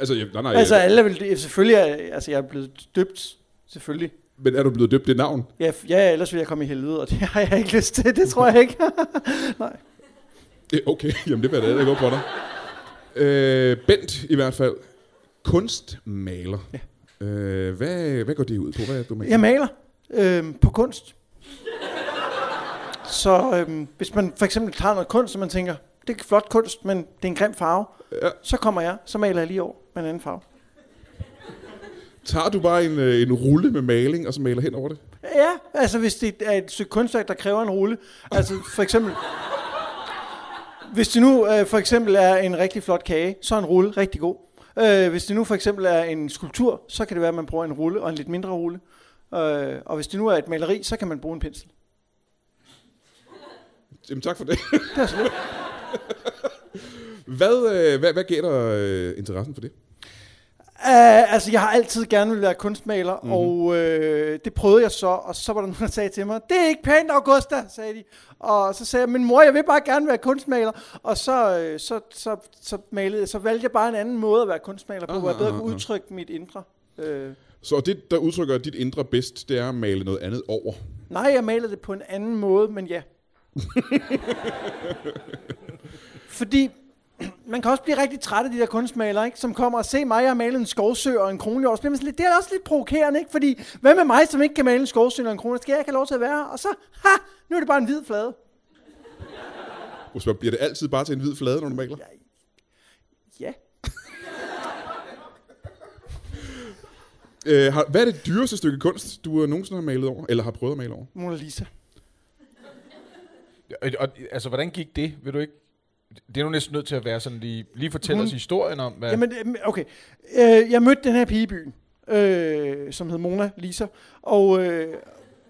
Altså, jeg, nej, nej, altså,
Altså, alle vil, selvfølgelig er, altså, jeg er blevet døbt. Selvfølgelig.
men er du blevet døbt det navn?
Ja, f- ja, ellers ville jeg komme i helvede, og det har jeg ikke lyst til. Det tror jeg ikke.
Øh, Okay, jamen det var det, der går på dig. Øh, Bent i hvert fald. Kunstmaler. Ja. Øh, hvad, hvad går det ud på? Hvad er det, du maler?
Jeg maler øhm, på kunst. Så øhm, hvis man for eksempel tager noget kunst, og man tænker, det er flot kunst, men det er en grim farve,
Ja.
ja. så kommer jeg, så maler jeg lige over med en anden farve.
Tager du bare en, øh, en rulle med maling, og så maler hen over det?
Ja, altså hvis det er et stykke kunstværk, der kræver en rulle. Altså for eksempel... Hvis det nu øh, for eksempel er en rigtig flot kage, så er en rulle rigtig god. Øh, hvis det nu for eksempel er en skulptur, så kan det være, at man bruger en rulle og en lidt mindre rulle. Øh, og hvis det nu er et maleri, så kan man bruge en pensel.
Jamen tak for det. hvad, øh, hvad, hvad gælder øh, interessen for det?
Uh, altså, jeg har altid gerne vil være kunstmaler, mm-hmm. og øh, det prøvede jeg så, og så var der nogen, der sagde til mig, det er ikke pænt, Augusta, sagde de. Og så sagde jeg, men mor, jeg vil bare gerne være kunstmaler. Og så, øh, så, så, så, malede, så valgte jeg bare en anden måde at være kunstmaler på,
Aha,
hvor jeg bedre
aha,
kunne
aha.
udtrykke mit indre. Øh,
Så det, der udtrykker dit indre bedst, det er at male noget andet over.
nej, jeg malede det på en anden måde, men ja. Fordi man kan også blive rigtig træt af de der kunstmalere, ikke? som kommer og ser mig, jeg har malet en skovsø og en kronhjort. Så bliver man sådan lidt, det er også lidt provokerende, ikke? fordi hvad med mig, som ikke kan male en skovsø og en kronhjort? Skal jeg ikke have lov til at være her? Og så, ha, nu er det bare en hvid flade.
Og så bliver det altid bare til en hvid flade, når du maler?
Ja.
Øh, har, hvad er det dyreste stykke kunst, du øh, nogensinde har malet over? Eller har prøvet at male over?
Mona Lisa.
Og, og, altså, hvordan gik det? Vil du ikke... Det er nu næsten nødt til at være sådan lige... Lige fortælle os historien om, hvad...
Mhm. Jamen, øhm, okay. Øh, jeg mødte den her pige i byen, øh, som hed Mona Lisa, og øh,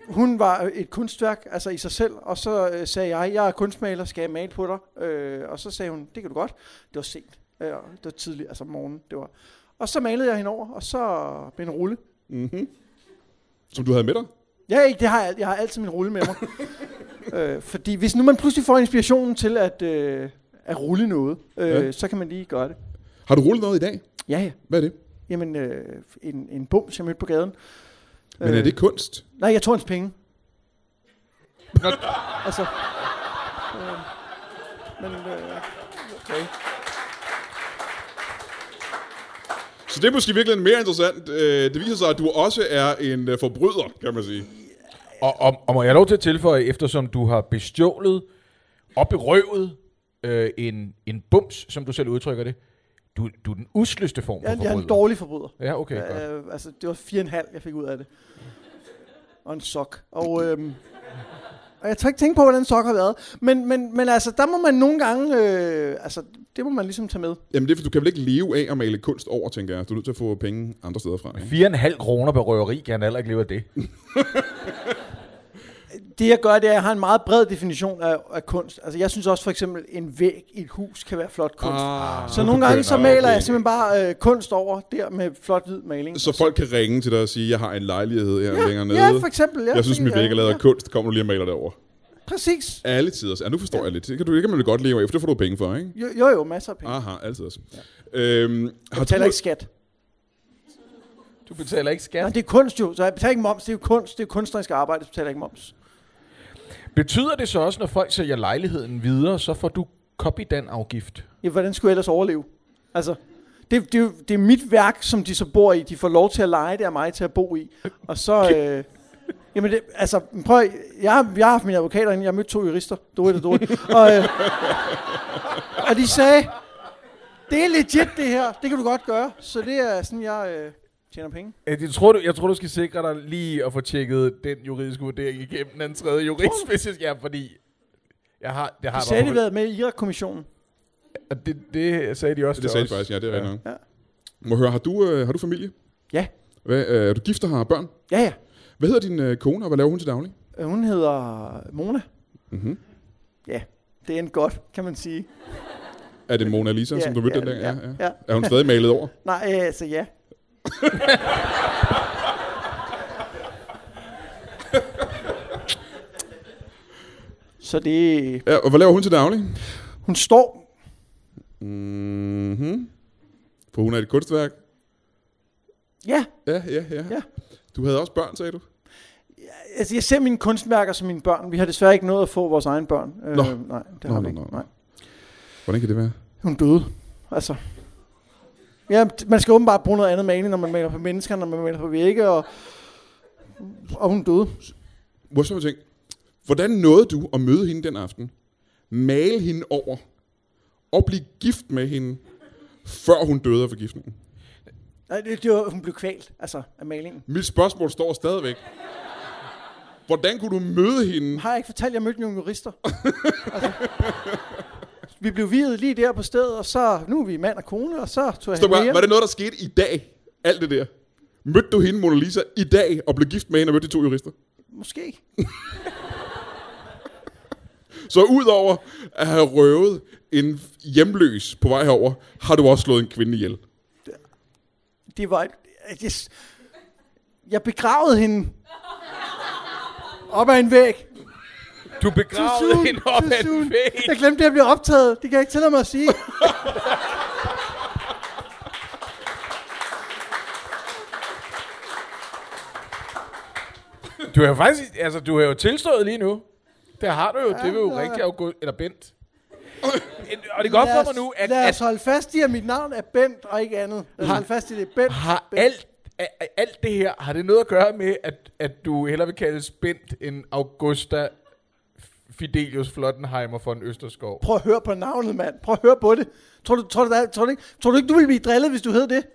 hun var et kunstværk, altså i sig selv, og så øh, sagde jeg, jeg er kunstmaler, skal jeg male på dig? Øh, og så sagde hun, det kan du godt. Det var sent, øh, det var tidligt, altså om morgenen, det var. Og så malede jeg hende over, og så med en rulle.
Som du havde med dig?
Ja, ikke, det har jeg, jeg har altid min rulle med mig. øh, fordi hvis nu man pludselig får inspirationen til at, øh, at rulle noget, øh,
Ja.
ja. så kan man lige gøre det.
Har du rullet noget i dag?
Ja, ja.
Hvad er det?
Jamen, øh, en, en bums, jeg mødte på gaden.
Men er det kunst?
Nej, jeg tog hans penge.
Nå.
altså, øh, men, øh, okay.
Så det er måske virkelig mere interessant. Øh, det viser sig, at du også er en øh, forbryder, kan man sige.
Og, og, og må jeg have lov til at tilføje, eftersom du har bestjålet og berøvet øh, en, en bums, som du selv udtrykker det, du, du er den usløste form for
jeg, jeg er en
forbryder.
dårlig forbryder.
Ja, okay, godt.
øh, altså, det var fire og en halv, jeg fik ud af det. Og en sok. Og, øh, og jeg tør ikke tænke på, hvordan en sok har været. Men, men, men altså, der må man nogle gange... Øh, altså, det må man ligesom tage med.
Jamen det er, for du kan vel ikke leve af at male kunst over, tænker jeg. Du er nødt til at få penge andre steder fra. Ikke?
Fire og en halv kroner på røveri kan han heller ikke leve af det.
Det jeg gør, det er, at jeg har en meget bred definition af, af kunst. Altså, jeg synes også for eksempel, en væg i et hus kan være flot kunst.
Ah,
Så nogle
du
gange
kan-
så
Ah,
maler
okay.
jeg simpelthen bare øh, kunst over der med flot hvid maling.
Så folk kan ringe til dig og sige, jeg har en lejlighed her ja, længere nede.
ja, for eksempel. Ja,
Jeg synes,
det-
mit væg er lavet
ja,
af kunst. Kom nu lige og maler det over.
Præcis.
Alle tider. Ja, nu forstår ja. jeg lidt. Det kan, du, det kan man jo godt leve af, for det får du penge for, ikke?
Jo, jo,
Ah.
jo masser af penge.
Aha, altid også. Ja. Øhm,
Jeg
har
betaler
du,
ikke skat.
Du betaler ikke
Nej,
skat.
det er kunst jo, så jeg betaler ikke moms. Det er jo kunst, det er kunstnerisk arbejde, så betaler jeg ikke moms.
Betyder det så også, når folk sælger lejligheden videre, så får du copydan-afgift?
Ja, hvordan skulle jeg ellers overleve? Altså, det, det, er jo- det er mit værk, som de så bor i. De får lov til at lege det af mig til at bo i. Og så... Øh, jamen, det, altså, prøv at- jeg, har- jeg har haft mine advokater inde. Jeg har mødt to jurister. Dorit og Dorit. og, øh, og de sagde, det er legit det her. Det kan du godt gøre. Så det er sådan, jeg øh, tjener penge.
Jeg tror, du, jeg tror, du skal sikre dig lige at få tjekket den juridiske vurdering igennem den tredje jurist, hvis jeg ja, fordi jeg har, jeg har
De sagde, de været med i Irak-kommissionen.
Og det, det sagde de også
Det sagde
til
de
os.
faktisk, ja, det er
Ja.
rigtigt nok.
Ja.
Må jeg høre, har du, øh, har du familie?
Ja,
Hvad, øh, er du gift og har børn?
ja, ja.
Hvad hedder din øh, kone, og hvad laver hun til daglig?
Øh, Hun hedder Mona.
Mhm.
Ja, det endte godt, kan man sige.
Er det Mona Lisa,
Ja,
som du mødte
ja,
den dag?
ja, ja.
Er hun stadig malet over?
Nej, øh, altså ja. Så det...
Ja, og hvad laver hun til daglig?
Hun står...
Mm-hmm. For hun er et kunstværk.
Ja,
Ja, ja, ja,
Ja.
Du havde også børn, sagde du?
altså jeg ser mine kunstværker som mine børn. Vi har desværre ikke nået at få vores egne børn. Øh,
Nå.
Nej, det
Nå, nå,
har vi ikke.
nå.
Nej.
Hvordan kan det være?
Hun døde. Altså... Ja, t- man skal åbenbart bruge noget andet maling, når man maler på mennesker, når man maler på vægge, og, og hun døde.
Hvor så ting? Hvordan nåede du at møde hende den aften, male hende over og blive gift med hende, før hun døde af forgiftningen?
Nej, det, det var, hun blev kvalt, altså, af malingen.
Mit spørgsmål står stadigvæk. Hvordan kunne du møde hende?
Har jeg ikke fortalt, at jeg mødte nogle jurister? altså, vi blev videt lige der på stedet, og så nu er vi mand og kone, og så tog
Stop,
jeg hende med
bare,
hjem.
var det noget, der skete i dag? Alt det der. Mødte du hende, Mona Lisa, i dag og blev gift med hende og mødte de to jurister?
Måske.
Så udover at have røvet en hjemløs på vej herover, har du også slået en kvinde ihjel.
Det var... Jeg, jeg, jeg begravede hende op ad en væg.
Du begravede hende op
Too
ad
soon.
en væg.
Jeg glemte, at jeg blev optaget. Det kan jeg ikke tillade mig at sige.
Du har jo faktisk, altså, du har jo tilstået lige nu. Det har du jo. det var jo rigtig august, eller Bent. Og det går op
Øh, Lad os,
for mig nu, at,
lad os
at
holde fast i, at mit navn er Bent og ikke andet. Lad os holde fast i, at det er Bent.
har
Bent.
alt, a- alt det her, har det noget at gøre med, at, at du hellere vil kaldes Bent end Augusta Fidelius Flottenheimer von Østerskov?
Prøv at høre på navnet, mand. Prøv at høre på det. Tror du, tror du, der, tror du, ikke, tror du ikke, du ville blive drillet, hvis du hed det?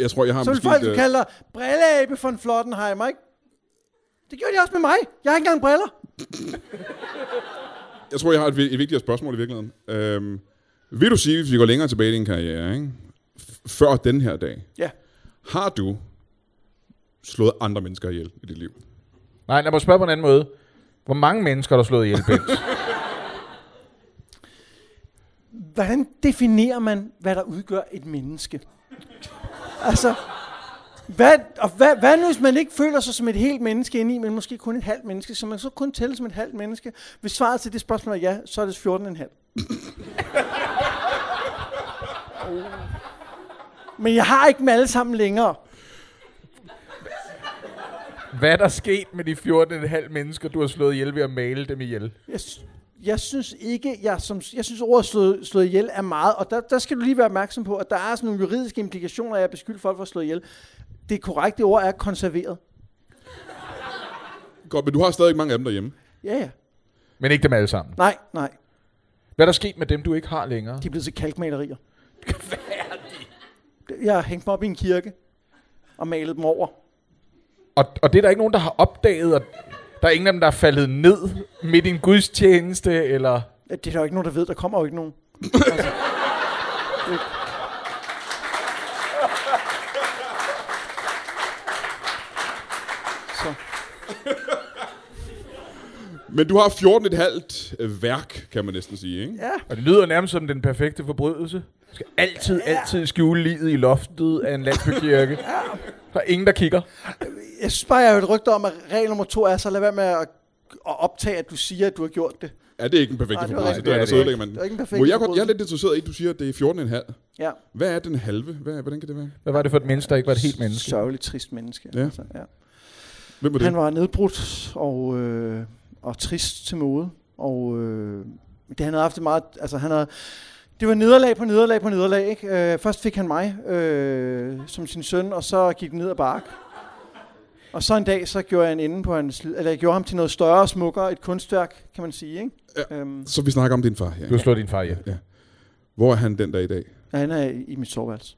Jeg tror, jeg har
Så ville
måske...
folk
et, øh,
kalde dig brilleabe von Flottenheimer, ikke? Det gjorde de også med mig. Jeg har ikke engang briller.
jeg tror, jeg har et, vi- et vigtigere spørgsmål i virkeligheden. Øhm, vil du sige, hvis vi går længere tilbage i din karriere, ikke? F- før den her dag,
Ja.
har du slået andre mennesker ihjel i dit liv?
Nej, lad mig spørge på en anden måde. Hvor mange mennesker har du slået ihjel, Bent?
Hvordan definerer man, hvad der udgør et menneske? Altså, hvad, og hvad, hvad nu, hvis man ikke føler sig som et helt menneske indeni, men måske kun et halvt menneske? Så man så kun tælle som et halvt menneske? Hvis svaret til det spørgsmål er ja, så er det 14,5. Men jeg har ikke dem alle sammen længere.
Hvad er der sket med de 14,5 mennesker, du har slået ihjel ved at male dem ihjel?
Jeg, s- jeg synes ikke, jeg, som, jeg synes ordet slået, slået ihjel er meget, og der, der skal du lige være opmærksom på, at der er sådan nogle juridiske implikationer, af at jeg beskylder folk for at slå ihjel. Det korrekte ord er konserveret.
Godt, men du har stadig mange af dem derhjemme.
Ja, ja.
Men ikke dem alle sammen.
Nej, nej.
Hvad er der sket med dem, du ikke har længere?
De er blevet til kalkmalerier. Hvad er de? Jeg har hængt dem op i en kirke og malet dem over.
Og, og det er der ikke nogen, der har opdaget, og der er ingen af dem, der er faldet ned midt i en gudstjeneste, eller...
Det er der jo ikke nogen, der ved. Der kommer jo ikke nogen. altså. det. Så.
Men du har 14,5 øh, værk, kan man næsten sige, ikke?
Ja.
Og det lyder nærmest som den perfekte forbrydelse. Du skal altid, altid skjule livet i loftet af en landsbykirke. Der er ingen, der kigger.
Jeg synes bare, jeg har hørt rygter om, at regel nummer to er, så lad være med at at optage, at du siger, at du har gjort det.
Er det ikke en perfekt
Nej, det var
forbrydelse?
rigtigt.
Der, der,
Det er
der
det
så
ikke.
ødelægger man den.
Det var ikke en perfekt
Må jeg, godt, jeg er
forbrydelse.
lidt interesseret i, at du siger, at det er 14,5.
Ja,
Hvad er den halve? Hvad, hvordan kan det være?
Hvad var det for et menneske, der ikke var et helt menneske?
sørgeligt trist menneske.
Ja.
Altså, ja.
Hvem er det?
Han var nedbrudt og, øh, og trist til mode. Og øh, det, han havde haft det meget... Altså, han havde, det var nederlag på nederlag på nederlag. Ikke? Øh, først fik han mig øh, som sin søn, og så gik det ned ad bark. Og så en dag, så gjorde jeg, en ende på hans, li- eller jeg gjorde ham til noget større og smukkere. Et kunstværk, kan man sige. Ikke? Ja. Øhm,
Så vi snakker om din far her.
Du har slået din far ihjel.
Hvor er han den dag i dag?
ja, han er i, i mit soveværelse.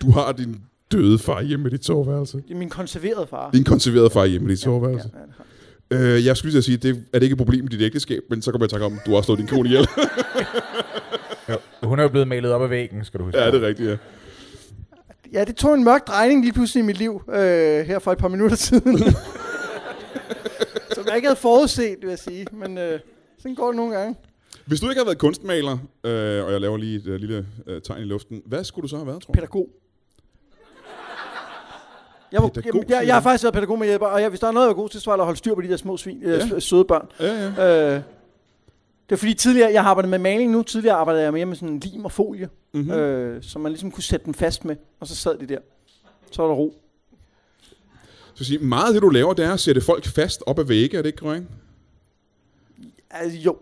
Du har din døde far hjemme i dit soveværelse.
Det er min konserverede far.
Din konserverede far hjemme i dit soveværelse.
Ja, ja, det har-
Øh, jeg skulle til at sige, det er det ikke et problem i dit ægteskab, men så kommer jeg i tanke om, at du har slået din kone ihjel.
Hun er jo blevet malet op af væggen, skal du huske.
ja, det er rigtigt, ja.
ja, det tog en mørk drejning lige pludselig i mit liv, øh, her for et par minutter siden. Som jeg ikke havde forudset, vil jeg sige. Men øh, sådan går det nogle gange.
Hvis du ikke havde været kunstmaler, øh, og jeg laver lige et øh, lille øh, tegn i luften, hvad skulle du så have været, tror du?
Pædagog. Jeg, var,
Pædagog,
jeg, jeg,
siger
jeg har
du?
faktisk været pædagog med hjælper, og jeg, hvis der er noget, jeg er god til, så var det at holde styr på de der små svin, øh,
Ja.
ja. søde børn.
Ja, ja.
Øh, det er fordi tidligere, jeg har arbejdet med maling nu, tidligere arbejdede jeg mere med sådan lim og folie,
Mhm.
mm-hmm. øh, som man ligesom kunne sætte den fast med, og så sad de der. Så var der ro.
Så sige, meget af det, du laver, det er at sætte folk fast op ad vægge, er det ikke korrekt?
Altså, jo.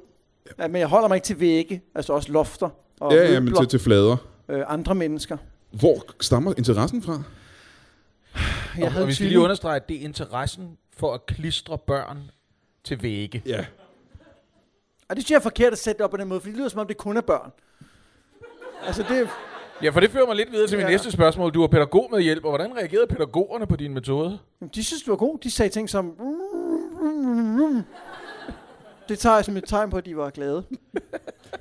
Ja, men jeg holder mig ikke til vægge, altså også lofter og
Ja, ja, men
møbler,
til, til flader.
øh, andre mennesker.
Hvor stammer interessen fra?
Jeg
og, og
havde
vi
en
skal lige
tvilling.
understrege, at det er interessen for at klistre børn til vægge.
Ja.
Og det synes jeg er forkert at sætte det op på den måde, for det lyder som om, det kun er børn. Altså, det,
Ja, for det fører mig lidt videre til min
Ja.
næste spørgsmål. Du var pædagog med hjælp, og hvordan reagerede pædagogerne på din metode?
jamen, de synes, du var god. De sagde ting som... Det tager jeg som et tegn på, at de var glade.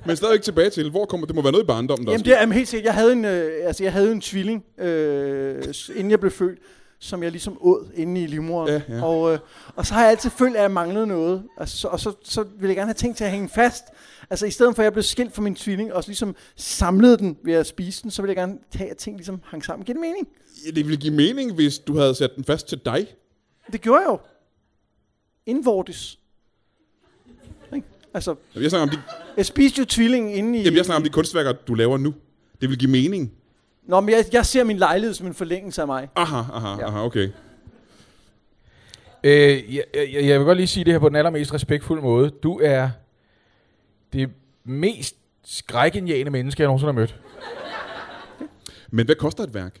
Men stadigvæk tilbage til, hvor kommer det må være noget i barndommen, der
Jamen, det er jamen, helt sikkert. Jeg havde en, øh, altså, jeg havde en tvilling, øh, s- inden jeg blev født, som jeg ligesom åd inde i livmoderen.
Ja, ja.
Og, øh, og så har jeg altid følt, at jeg manglede noget. Og så, og så, så ville jeg gerne have tænkt til at hænge fast. Altså i stedet for, at jeg blev skilt fra min tvilling, og så ligesom samlede den ved at spise den, så ville jeg gerne tage, at ting ligesom hang sammen. Giver det mening?
Ja, det ville give mening, hvis du havde sat den fast til dig.
Det gjorde jeg jo. Indvortes. Ikke? Altså,
Jamen, Jeg snakker om de,
jeg spiste jo tvillingen inde i...
jamen, jeg snakker om de kunstværker, du laver nu. Det vil give mening.
Nå, men jeg, jeg ser min lejlighed som en forlængelse af mig.
Aha, aha, ja. aha, okay.
Øh, jeg, jeg, jeg vil godt lige sige det her på den allermest respektfulde måde. Du er det mest skrækindjagende menneske, jeg nogensinde har mødt.
Men hvad koster et værk?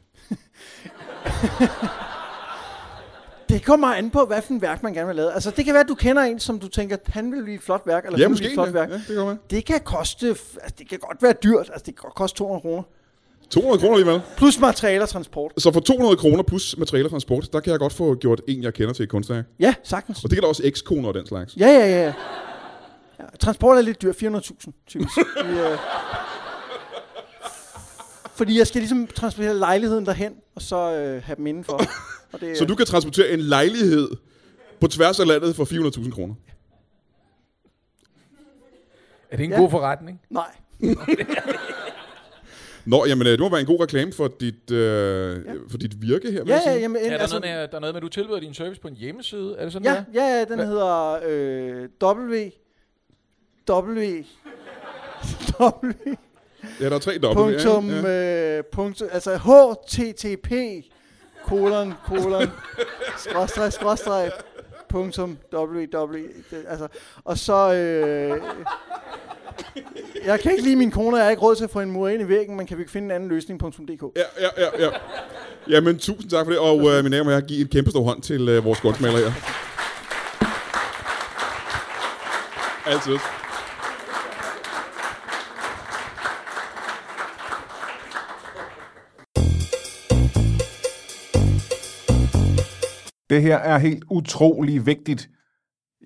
Det kommer an på, hvad for en værk, man gerne vil lave. Altså, det kan være, at du kender en, som du tænker, han vil blive et flot værk, eller
Ja,
hun vil
måske.
blive et
Ja,
flot værk.
ja, det kan godt være.
Det kan koste, f- altså, det kan godt være dyrt, altså, det kan godt koste 200 kroner.
200 kroner alligevel.
Plus materialer og transport.
Så for 200 kroner plus materialer og transport, der kan jeg godt få gjort en, jeg kender til et kunstværk.
Ja, sagtens.
Og det gælder også ekskoner og den slags.
Ja, ja, ja. ja transport er lidt dyrt, 400.000 typisk. I, øh, fordi jeg skal ligesom transportere lejligheden derhen, og så øh, have dem indenfor. Og det,
Så du kan transportere en lejlighed på tværs af landet for 400.000 kroner.
Er det en ja.
Ja.
god forretning?
Nej.
Nå, jamen øh, det må være en god reklame for dit, øh, ja. for dit virke her. vil
Ja,
jeg
ja,
sige.
jamen,
Er der, altså, noget med, der er noget med, at du tilbyder din service på en hjemmeside? Er det sådan
Ja,
der?
ja, ja den Hva? hedder øh, W. W. W.
ja, der er tre dobbelt.
Punktum,
Ja, ja.
øh, punktum, altså HTTP, kolon, kolon, skråstreg, skråstreg, punktum, www, det, altså, og så, øh, jeg kan ikke lide min kone, og jeg har ikke råd til at få en mur ind i væggen, men kan vi ikke finde en anden løsning, punktum .dk.
Ja, ja, ja, ja. Jamen, tusind tak for det, og øh, mine damer og herrer, giv en kæmpe stor hånd til øh, vores kunstmaler her. Altid.
Det her er helt utrolig vigtigt.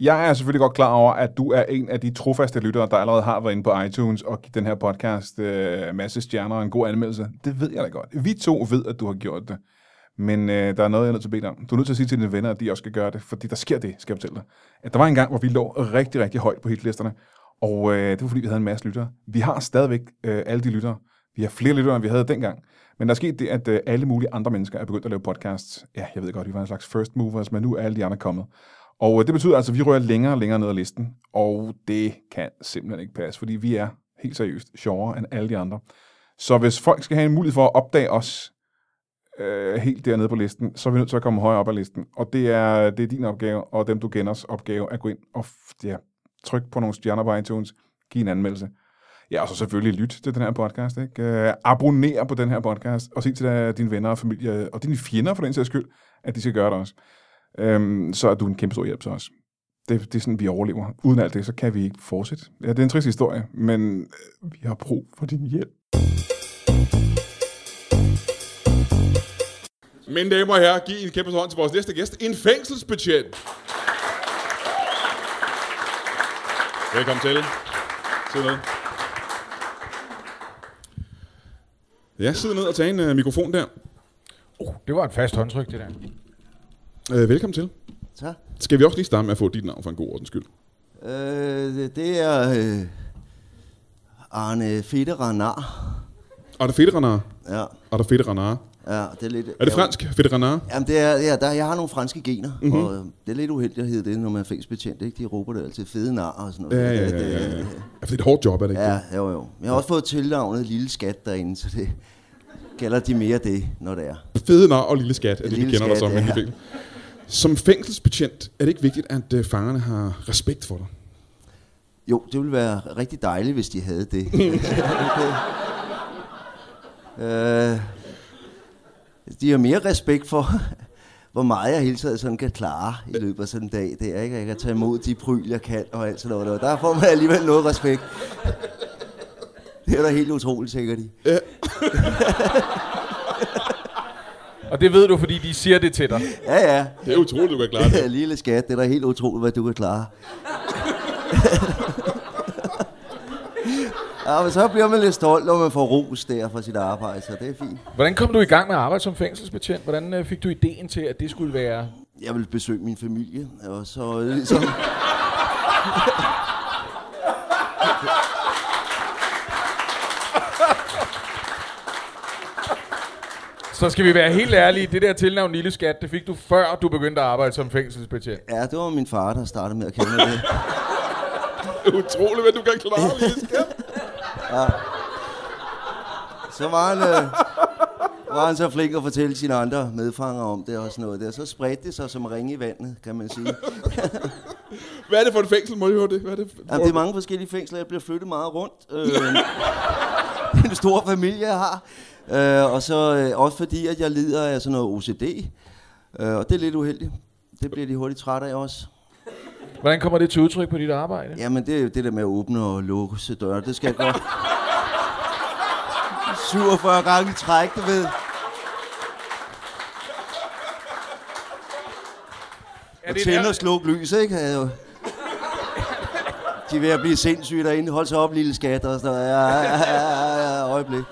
Jeg er selvfølgelig godt klar over, at du er en af de trofaste lyttere, der allerede har været inde på iTunes og givet den her podcast øh, masse stjerner og en god anmeldelse. Det ved jeg da godt. Vi to ved, at du har gjort det. Men øh, der er noget, jeg er nødt til at bede dig om. Du er nødt til at sige til dine venner, at de også skal gøre det, fordi der sker det, skal jeg fortælle dig. At der var en gang, hvor vi lå rigtig, rigtig højt på hitlisterne, og øh, det var fordi, vi havde en masse lyttere. Vi har stadigvæk øh, alle de lyttere. Vi har flere lyttere, end vi havde dengang. Men der er sket det, at øh, alle mulige andre mennesker er begyndt at lave podcasts. Ja, jeg ved godt, vi var en slags first movers, men nu er alle de andre kommet. Og øh, det betyder altså, at vi rører længere og længere ned ad listen, og det kan simpelthen ikke passe, fordi vi er helt seriøst sjovere end alle de andre. Så hvis folk skal have en mulighed for at opdage os øh, helt dernede på listen, så er vi nødt til at komme højere op ad listen. Og det er, det er din opgave, og dem du kenders opgave, at gå ind og f- ja, trykke på nogle stjerner på iTunes, give en anmeldelse. Ja, og så selvfølgelig lyt til den her podcast. Ikke? Øh, abonner på den her podcast, og sig til øh, dine venner og familie, og dine fjender for den sags skyld, at de skal gøre det også. Øhm, så er du en kæmpe stor hjælp til os. Det, det er sådan, vi overlever. Uden alt det, så kan vi ikke fortsætte. Ja, det er en trist historie, men øh, vi har brug for din hjælp.
Mine damer og herrer, giv en kæmpe hånd til vores næste gæst, en fængselsbetjent. Velkommen til. Sid ned. Ja, sid ned og tag en uh, mikrofon der.
Oh, det var et fast håndtryk, det der.
Uh, velkommen til.
Tak.
Skal vi også lige starte med at få dit navn for en god ordens skyld?
Øh, det- det er øh, Arne Federanar.
Arda Federanare.
Ja,
Arda Federanare.
ja, det er lidt...
Er det fransk? Mhm. Federanare?
Jamen, det er, ja, der, jeg har nogle franske gener, mm-hmm. og øh, det er lidt uheldigt at hedde det, når man er fængselsbetjent, ikke? De råber det altid fede nar og sådan
Ja,
noget.
ja,
Det-
ja,
det-
ja, ja. Ja, for det er et hårdt job, er det ikke? det?
Ja, jo, jo. Jeg har også fået tilnavnet Lille Skat derinde, så det kalder de mere det, når det er.
fede nar og lille skat, er det,
Lille
vi kender dig
skat,
som. Ja.
ja.
Fængsel. Som fængselsbetjent er det ikke vigtigt, at øh, fangerne har respekt for dig.
Jo, det ville være rigtig dejligt, hvis de havde det. øh, de har mere respekt for, hvor meget jeg hele tiden sådan kan klare i løbet af sådan en dag. Det er ikke, at jeg kan tage imod de pryl, jeg kan og alt sådan noget. Der får man alligevel noget respekt. Det er da helt utroligt, sikkert de.
Og det ved du, fordi de siger det til dig.
Ja, ja.
Det er utroligt, du kan klare det.
Lille skat, det er da helt utroligt, hvad du kan klare. ja, men så bliver man lidt stolt, når man får ros der fra sit arbejde, så det er fint.
Hvordan kom du i gang med at arbejde som fængselsbetjent? Hvordan øh, fik du ideen til, at det skulle være...
Jeg vil besøge min familie, og så øh, ligesom...
Så skal vi være helt ærlige, det der tilnavn Lille Skat, det fik du før du begyndte at arbejde som fængselsbetjent.
Ja, det var min far, der startede med at kende mig det.
Det er utroligt, hvad du kan klare, lille skat.
Så var han, øh, var han så flink at fortælle sine andre medfanger om det og sådan noget der. Så spredte det sig som ringe i vandet, kan man sige.
Hvad er det for et fængsel, må jeg høre det? Hvad er det? For...
Jamen, det er mange forskellige fængsler. Jeg bliver flyttet meget rundt. Øh, det er en stor familie, jeg har. Øh, og så øh, også fordi, at jeg lider af sådan noget OCD. Øh, og det er lidt uheldigt. Det bliver de hurtigt trætte af også.
Hvordan kommer det til udtryk på dit arbejde?
Jamen, det er jo det der med at åbne og lukke sig døre. Det skal jeg godt. 47 gange i træk, du ved.
Er
Og
det
tænde
der,
og slukke lys, ikke? Er jo- De er ved at blive sindssyge derinde. Hold så op, lille skat. Og sådan noget. Ja, ja, ja, ja, ja, øjeblik.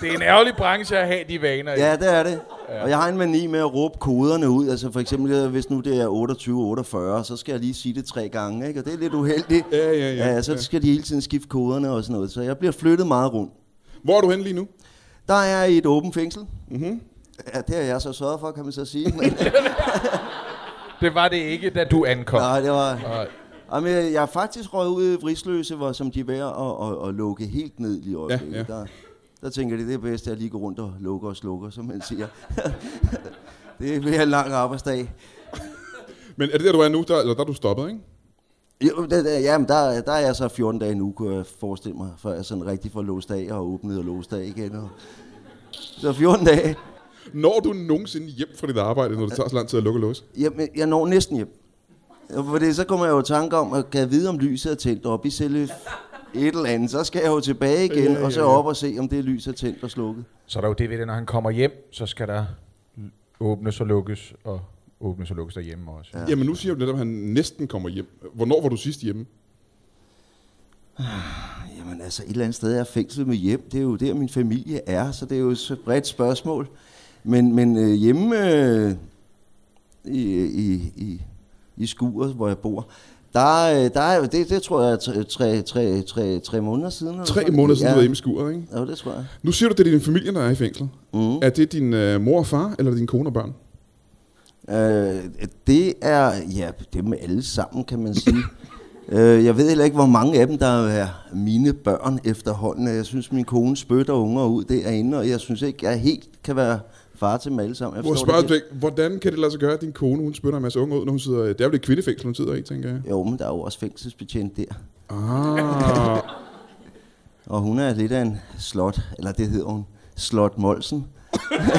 det er en ærgerlig branche at have de vaner i.
Ja, det er det. Og jeg har en mani med at råbe koderne ud. Altså for eksempel, hvis nu det er 28-48, så skal jeg lige sige det tre gange, ikke? Og det er lidt uheldigt.
Ja, ja, ja.
ja så skal de hele tiden skifte koderne og sådan noget. Så jeg bliver flyttet meget rundt.
Hvor er du henne lige nu?
Der er i et åbent fængsel. Mm-hmm. Ja, det har jeg så sørget for, kan man så sige. Men,
Det var det ikke, da du ankom.
nej, det var...
Nej.
Jamen, jeg jeg er faktisk røget ud i Vrisløse, hvor som de er ved at, at, at lukke helt ned lige i øjeblikket.
ja.
Der, der tænker de, det er bedst, at jeg lige går rundt og lukker og slukker, som man siger. det bliver en lang arbejdsdag.
Men er det der, du er nu? Der, eller der er du stoppet, ikke?
Jo, det, det, jamen, der, der er jeg så 14 dage nu, kunne jeg forestille mig, før jeg sådan rigtig får låst af og åbnet og låst af igen. Og... Så 14 dage.
Når du nogensinde hjem fra dit arbejde, når det tager så lang tid at lukke og låse?
Jamen, jeg når næsten hjem. For det, så kommer jeg jo i tanke om, at kan jeg vide, om lyset er tændt op i selv et eller andet. Så skal jeg jo tilbage igen, ja, ja, ja. og så op og se, om det lys er tændt og slukket.
Så er der jo det ved det, når han kommer hjem, så skal der åbnes og lukkes, og åbnes og lukkes derhjemme også. Ja.
Jamen nu siger du netop, at han næsten kommer hjem. Hvornår var du sidst hjemme?
Jamen altså, et eller andet sted er fængslet med hjem. Det er jo der, min familie er, så det er jo et bredt spørgsmål. Men, men øh, hjemme øh, i, i, i, i skuret, hvor jeg bor, der, øh, der er, det, det tror jeg er tre, tre, tre, tre, tre måneder siden. eller
Tre
sådan.
måneder siden,
ja.
du var hjemme i skuret, ikke?
Ja, det tror jeg.
Nu siger du, det er din familie, der er i fængslet. Mm. Er det din øh, mor og far, eller din kone og børn?
Øh, det er, ja, dem alle sammen, kan man sige. Øh, Jeg ved heller ikke, hvor mange af dem, der er mine børn efterhånden. Jeg synes, min kone spytter unger ud derinde, og jeg synes ikke, jeg helt kan være far til dem alle sammen. Jeg
Hvor
forstår det
spørger
ikke.
du, hvordan kan det lade sig gøre, at din kone, hun spytter en masse unge ud, når hun sidder... Det er jo det kvindefængsel, hun sidder i, tænker jeg.
Jo, men der er jo også fængselsbetjent der.
Ah,
Og hun er lidt af en slot, eller det hedder hun, Slot Molsen.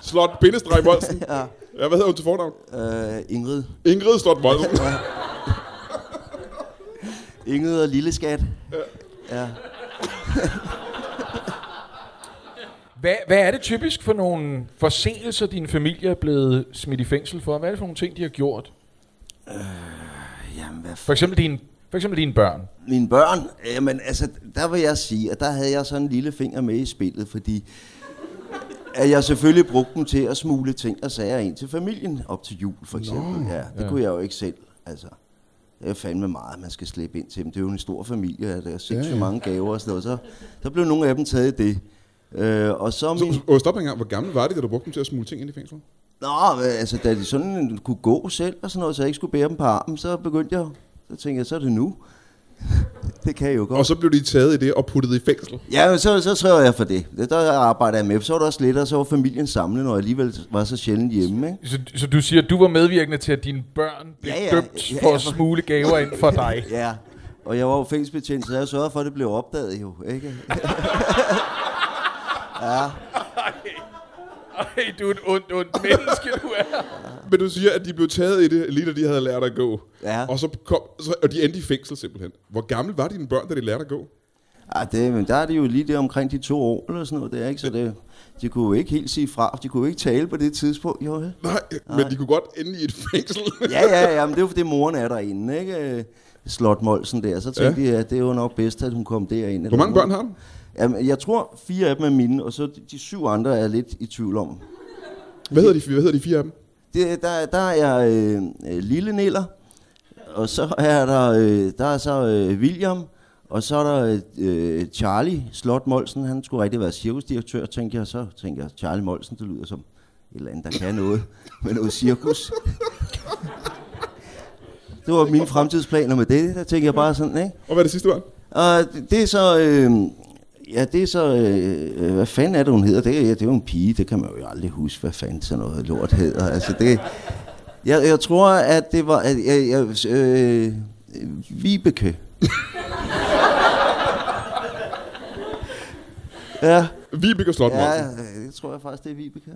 Slot Bindestreg Molsen.
Ja.
Ja, hvad hedder hun til fornavn?
Øh, Ingrid.
Ingrid Slot Molsen.
Ingrid og Lille Skat. Ja.
Hvad, hvad er det typisk for nogle forseelser, din familie er blevet smidt i fængsel for? Hvad er det for nogle ting, de har gjort?
Jamen, hvad f-
For eksempel dine, for eksempel dine børn.
Mine børn, jamen altså, der vil jeg sige, at der havde jeg sådan en lille finger med i spillet, fordi at jeg selvfølgelig brugte dem til at smule ting og sager ind til familien, op til jul for eksempel. ja, det kunne jeg jo ikke selv, altså. Det er fandme meget, man skal slæbe ind til dem. Det er jo en stor familie, og der er sindssygt mange gaver og sådan noget. Så, så blev nogle af dem taget i det. Øh, og så
Så,
min...
åh, stop en gang. Hvor gammel var det, da du brugte dem til at smule ting ind i fængslet?
Nå, men altså, da de sådan kunne gå selv og sådan noget, så jeg ikke skulle bære dem på armen, så begyndte jeg, så tænkte jeg, så er det nu. det kan jeg jo godt.
Og så blev de taget i det og puttet i fængsel.
Ja, men så, så sørger jeg for det. Det der arbejder jeg med. Så var der også lidt, og så var familien samlet, når jeg alligevel var så sjældent hjemme. Ikke?
Så, så du siger, at du var medvirkende til, at dine børn blev ja, ja, dømt ja, ja, for at
for-
smule gaver ind for dig.
Ja, og jeg var jo fængselsbetjent, så jeg sørgede for, at det blev opdaget jo. Ikke?
Ej, du er et ondt, ondt menneske, du er.
Men du siger, at de blev taget i det, lige da de havde lært at gå.
Ja.
Og, så kom, så, og de endte i fængsel simpelthen. Hvor gammel var dine børn, da de lærte at gå?
Ej, det, men der er det jo lige der omkring de to år eller sådan noget. Det er ikke så det. De kunne jo ikke helt sige fra, for de kunne jo ikke tale på det tidspunkt. Jo, vel?
Nej, men de kunne godt ende i et fængsel.
ja, ja, ja, men det er jo fordi moren er derinde, ikke? Øh, Slot Molsen der. Så tænkte ja. jeg, at det er jo nok bedst, at hun kom derind.
Hvor mange børn har du?
Jamen, jeg tror, fire af dem er mine, og så de, de syv andre er jeg lidt i tvivl om.
Hvad hedder de, hvad hedder de fire af dem?
Det, der, der er jeg øh, øh, Lille Niller, og så er der, øh, der er så øh, William, og så er der øh, Charlie Slot Molsen. Han skulle rigtig være cirkusdirektør, tænker jeg. Så tænker jeg, Charlie Molsen, det lyder som et eller andet, der kan noget med noget cirkus. det var mine fremtidsplaner med det. Der tænker jeg bare sådan, ikke?
Og hvad er det sidste barn?
Og det- det er så... Øh, ja, det er så... Øh, øh, hvad fanden er det, hun hedder? Det, er- ja, det er jo en pige. Det kan man jo aldrig huske, hvad fanden sådan noget lort hedder. Altså, det... Jeg, jeg tror, at det var... At, jeg, jeg, øh, Vibeke. ja,
Vibeke Slot
ja,
ja.
jeg tror jeg faktisk, det er Vibeke.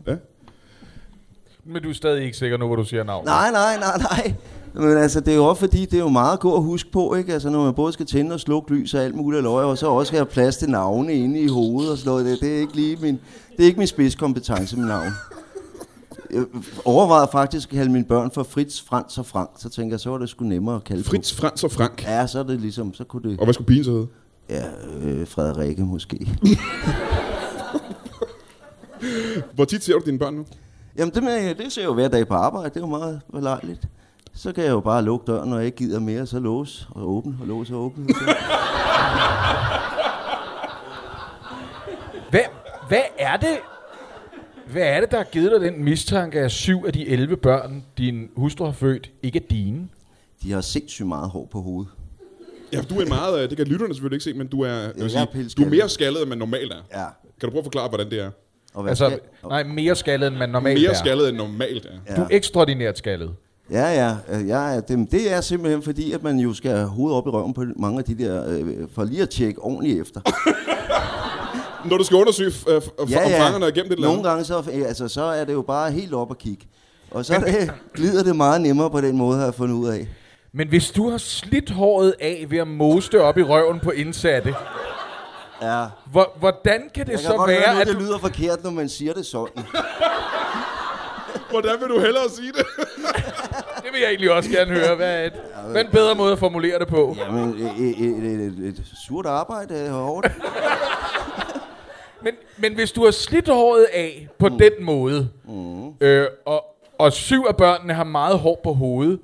Men du er stadig ikke sikker nu, hvor du siger navnet.
Nej, nej, nej, nej. Men altså, det er jo også fordi, det er jo meget godt at huske på, ikke? Altså, når man både skal tænde og slukke lys og alt muligt løg, og så også skal have plads til navne inde i hovedet og sådan noget. Det, det er ikke lige min, det er ikke min spidskompetence med navn. Jeg overvejede faktisk at kalde mine børn for Fritz, Frans og Frank. Så tænker jeg, så var det sgu nemmere at kalde
Fritz, Frans og Frank.
dem. Ja, så er det ligesom, så kunne det...
Og hvad skulle pigen så hedde?
Ja, øh, Frederikke måske.
Hvor tit ser du dine børn nu?
Jamen, det, med, det ser jeg jo hver dag på arbejde. Det er jo meget belejligt. Så kan jeg jo bare lukke døren, når jeg ikke gider mere, så låse og åbne, og låse og åbne.
Hvad, hvad er det? Hvad er det, der har givet dig den mistanke, at syv af de 11 børn, din hustru har født, ikke er dine?
De har sindssygt meget hår på hovedet.
Ja, du er en meget... øh, Det kan lytterne selvfølgelig ikke se, men du er... Jeg vil
Jeg
sige,
er
du
pilskaldet.
er mere skaldet, end man normalt er.
Ja.
Kan du prøve at forklare, hvordan det er?
Og
Altså,
skal-
nej, mere skaldet, end man normalt
Mere
er.
skaldet, end normalt er.
Du er ekstraordinært skaldet.
Ja, ja. øh, ja det, det er simpelthen fordi, at man jo skal have hovedet op i røven på mange af de der, øh, for lige at tjekke ordentligt efter.
Når du skal undersøge, øh, f- f- om fangerne er gennem det eller
Nogle
andet.
gange, så, øh, altså, så er det jo bare helt op at kigge. Og så er det, glider det meget nemmere på den måde, har jeg fundet ud af.
Men hvis du har slidt håret af ved at mose det op i røven på indsatte,
Ja.
hvor, hvordan kan det
Jeg
så
kan godt høre,
være,
nu,
at
det
du...
lyder forkert, når man siger det sådan.
Hvordan vil du hellere sige det?
Det vil jeg egentlig også gerne høre. Hvad er, et, hvad er en bedre måde at formulere det på?
Jamen, et, et, øh, et, et, et surt arbejde er hårdt.
Men, men hvis du har slidt håret af på mm. den måde, mm. øh, og, og syv af børnene har meget hår på hovedet,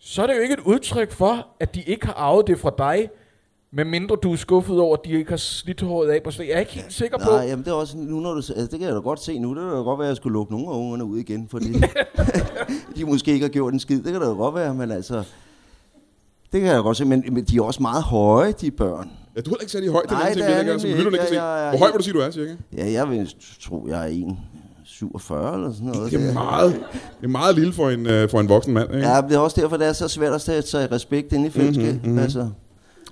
så er det jo ikke et udtryk for, at de ikke har arvet det fra dig, medmindre du er skuffet over, at de ikke har slidt håret af på stedet. Jeg er ikke helt sikker på...
Nej, jamen det er også nu, når du, s- altså, det kan jeg da godt se nu. Det kan da godt være, at jeg skulle lukke nogle af ungerne ud igen, fordi de måske ikke har gjort en skid. Det kan da jo godt være, men altså... Det kan jeg godt se, men, men de er også meget høje, de børn.
Ja, du er heller ikke særlig høj, det er
Nej,
en ting,
det
vi
er
ikke, som
nemlig
lytterne ikke kan
ikke.
se.
Jeg- jeg-
Hvor høj vil du sige, du er, cirka?
Ja, jeg vil tro, jeg er 1,47 eller sådan noget.
Det er meget, det er meget lille for en, øh, for en voksen mand. Ikke?
Ja, det er også derfor, det er så svært at sætte sig i respekt inde i fællesskab.
Mhm,
Mm-hmm, mm-hmm. Altså,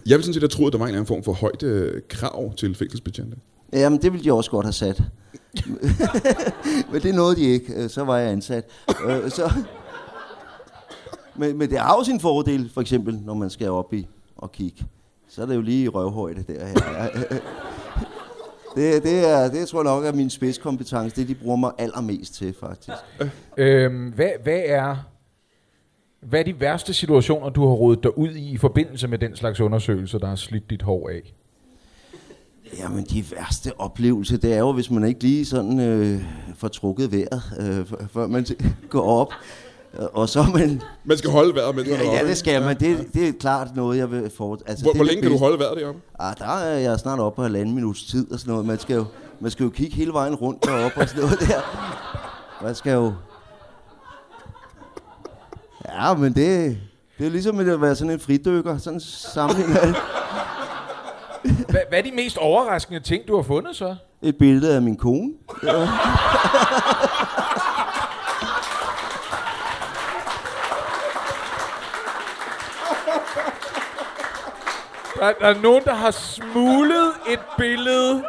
Jeg ville sådan set have troet, at der var en eller anden form for højt øh, krav til fængselsbetjente.
jamen, det ville de også godt have sat. men det nåede de ikke. Øh, Så var jeg ansat. Øh, så... men, men det har jo sin fordel, for eksempel, når man skal op i og kigge. Så er det jo lige i røvhøjde der. Her. det, det, er, det tror jeg nok er min spidskompetence. Det, de bruger mig allermest til, faktisk.
Øhm, hvad, hvad er... Hvad er de værste situationer, du har rodet dig ud i i forbindelse med den slags undersøgelser, der har slidt dit hår af?
Jamen, de værste oplevelser, det er jo, hvis man ikke lige sådan øh, får trukket vejret, øh, f- før man t- går op. Og så er man...
Man skal holde vejret, mens man er
Ja, ja
oppe,
det
ikke?
skal man. Det, det er klart noget, jeg vil for... Altså,
Hvor,
det er
hvor
det
længe kan du
bedste.
holde vejret deroppe?
Ah, der er jeg snart oppe på halvanden minuts tid og sådan noget. Man skal jo, man skal jo kigge hele vejen rundt deroppe og sådan noget der. Man skal jo... Ja, men det, det er jo ligesom at være sådan en fridykker. Sådan sammenlignet alt.
Hvad, hvad er de mest overraskende ting, du har fundet så?
et billede af min kone. Ja.
Der, der er nogen, der har smuglet et billede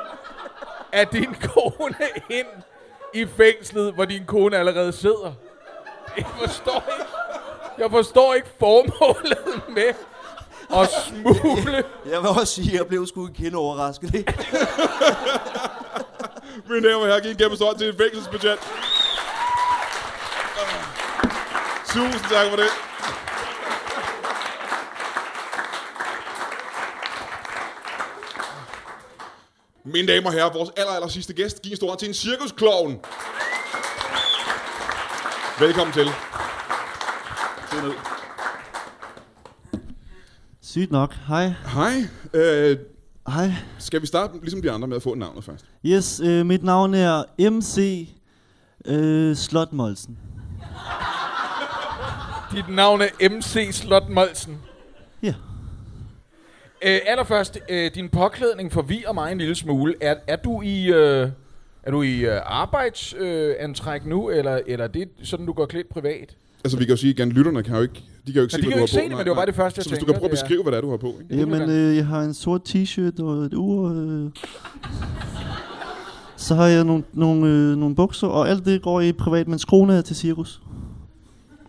af din kone ind i fængslet, hvor din kone allerede sidder. Jeg forstår ikke, jeg forstår ikke formålet med at smugle.
Jeg vil også sige, at jeg blev sgu en kende overrasket.
Mine damer og herrer, giv en kæmpe stort til en fængselsbetjent. Tusind tak for det. Mine damer og herrer, vores aller, aller sidste gæst, giv en stor hånd til en cirkusklovn. Velkommen til. Sid ned.
Sygt nok. Hej.
Hej. Øh,
Hej.
skal vi starte, ligesom de andre, med at få navnet først?
Yes, øh, mit navn er MC øh, Slotmolsen.
Dit navn er MC Slot Molsen.
Ja.
Øh, allerførst, øh, din påklædning forvirrer mig en lille smule. Er, er du i, øh, er du i øh, arbejdsantræk øh, antræk nu, eller, eller er det sådan, du går klædt privat?
Altså, vi kan jo sige igen, lytterne kan jo ikke, de kan jo ikke
Nej,
se,
de
hvad
kan
du
jo
har
ikke se
på.
det,
Nej,
men det var
nej.
bare det første, jeg
Så hvis du
tænker,
kan prøve at
det er-
beskrive, hvad det er, du har på. Ikke?
det kan
Jamen,
vi
øh, jeg har en sort t-shirt og et ur. Øh. Så har jeg nogle, nogle, øh, nogle bukser, og alt det går i privat, men skoene er til cirkus.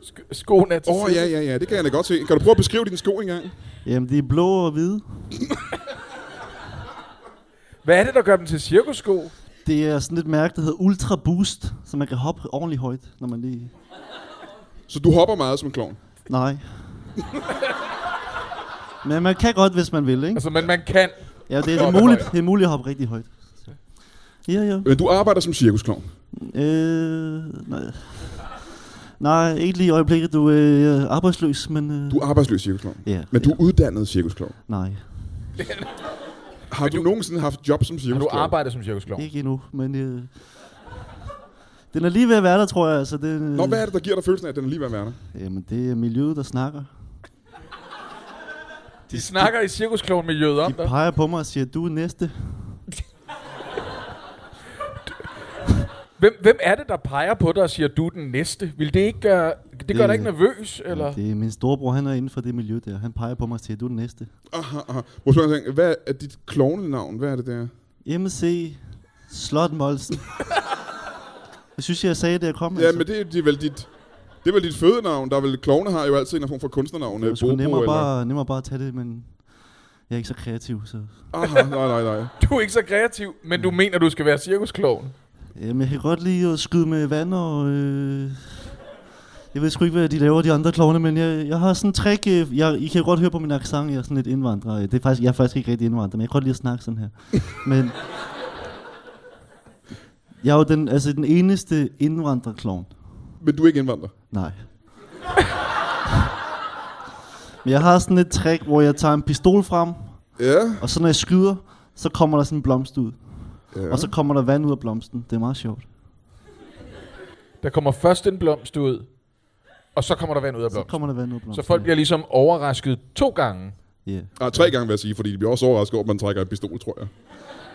Sk- skoen er til
Åh, oh, ja, ja, ja, det kan jeg da godt se. Kan du prøve at beskrive din sko engang?
Jamen, de er blå og hvide.
Hvad er det, der gør dem til cirkussko?
Det er sådan et mærke, der hedder Ultra Boost, så man kan hoppe ordentligt højt, når man lige...
Så du hopper meget som en klovn.
Nej. Men man kan godt, hvis man vil, ikke?
Altså, men man kan.
Ja, det er, det er muligt, det er muligt at hoppe rigtig højt. Så. Ja, ja.
Men du arbejder som cirkusklovn.
Øh, nej. Nej, ikke lige i øjeblikket. Du er øh, arbejdsløs, men... Øh,
Du er arbejdsløs cirkusklovn.
Ja.
Men du er uddannet cirkusklovn.
Nej,
Har du, nogensinde haft job som
Har du
cirkusklovn?
arbejdet som cirkusklovn?
ikke endnu, men... Øh, den er lige ved at være der, tror jeg. Altså, det, øh,
Nå, hvad er det, der giver dig følelsen af, at den er lige ved at være der?
Jamen, det er miljøet, der snakker.
De snakker i cirkusklovnmiljøet om
De
dig.
peger på mig og siger, du er næste.
Hvem, hvem er det, der peger på dig og siger, du er den næste? Vil det ikke gøre... Det gør
Det-
dig ikke nervøs, eller?
Det er min storebror, han er inden for det miljø der. Han peger på mig og siger, du er den næste.
Aha, aha. Må jeg spørge en ting? Hvad er dit klovnenavn? Hvad er det der?
MC Slot Molsen. jeg synes, jeg sagde det, jeg kom. altså.
Ja, men det, er- det er vel dit... Det er vel dit fødenavn, der er vel... Klovne har jo altid en eller anden form for kunstnernavn.
det
øh,
var sgu
Bobo
nemmere,
eller-
bare, nemmere bare at tage det, men jeg er ikke så kreativ, så...
Aha, nej, nej, nej.
Du er ikke så kreativ, men
Mm.
du mener, du skal være cirkusklovn.
Jamen, jeg kan godt lide at skyde med vand og... Øh... Jeg ved sgu ikke, hvad de laver, de andre klovne, men jeg, jeg har sådan en trick... Øh, jeg, I kan jo godt høre på min accent, jeg er sådan lidt indvandrer. Det er faktisk, jeg er faktisk ikke rigtig indvandrer, men jeg kan godt lide at snakke sådan her. men... Jeg er jo den, altså, den eneste indvandrerklovn.
Men du er ikke indvandrer.
Nej. Men jeg har sådan et trick, hvor jeg tager en pistol frem,
Ja.
og så når jeg skyder, så kommer der sådan en blomst ud.
ja.
Og så kommer der vand ud af blomsten. Det er meget sjovt.
Der kommer først en blomst ud, og så kommer der vand ud af
Så
blomsten.
kommer der vand ud af blomsten.
Så folk bliver ligesom overrasket to gange.
Yeah.
Ah, tre gange vil jeg sige, fordi de bliver også overrasket over, at man trækker en pistol, tror jeg.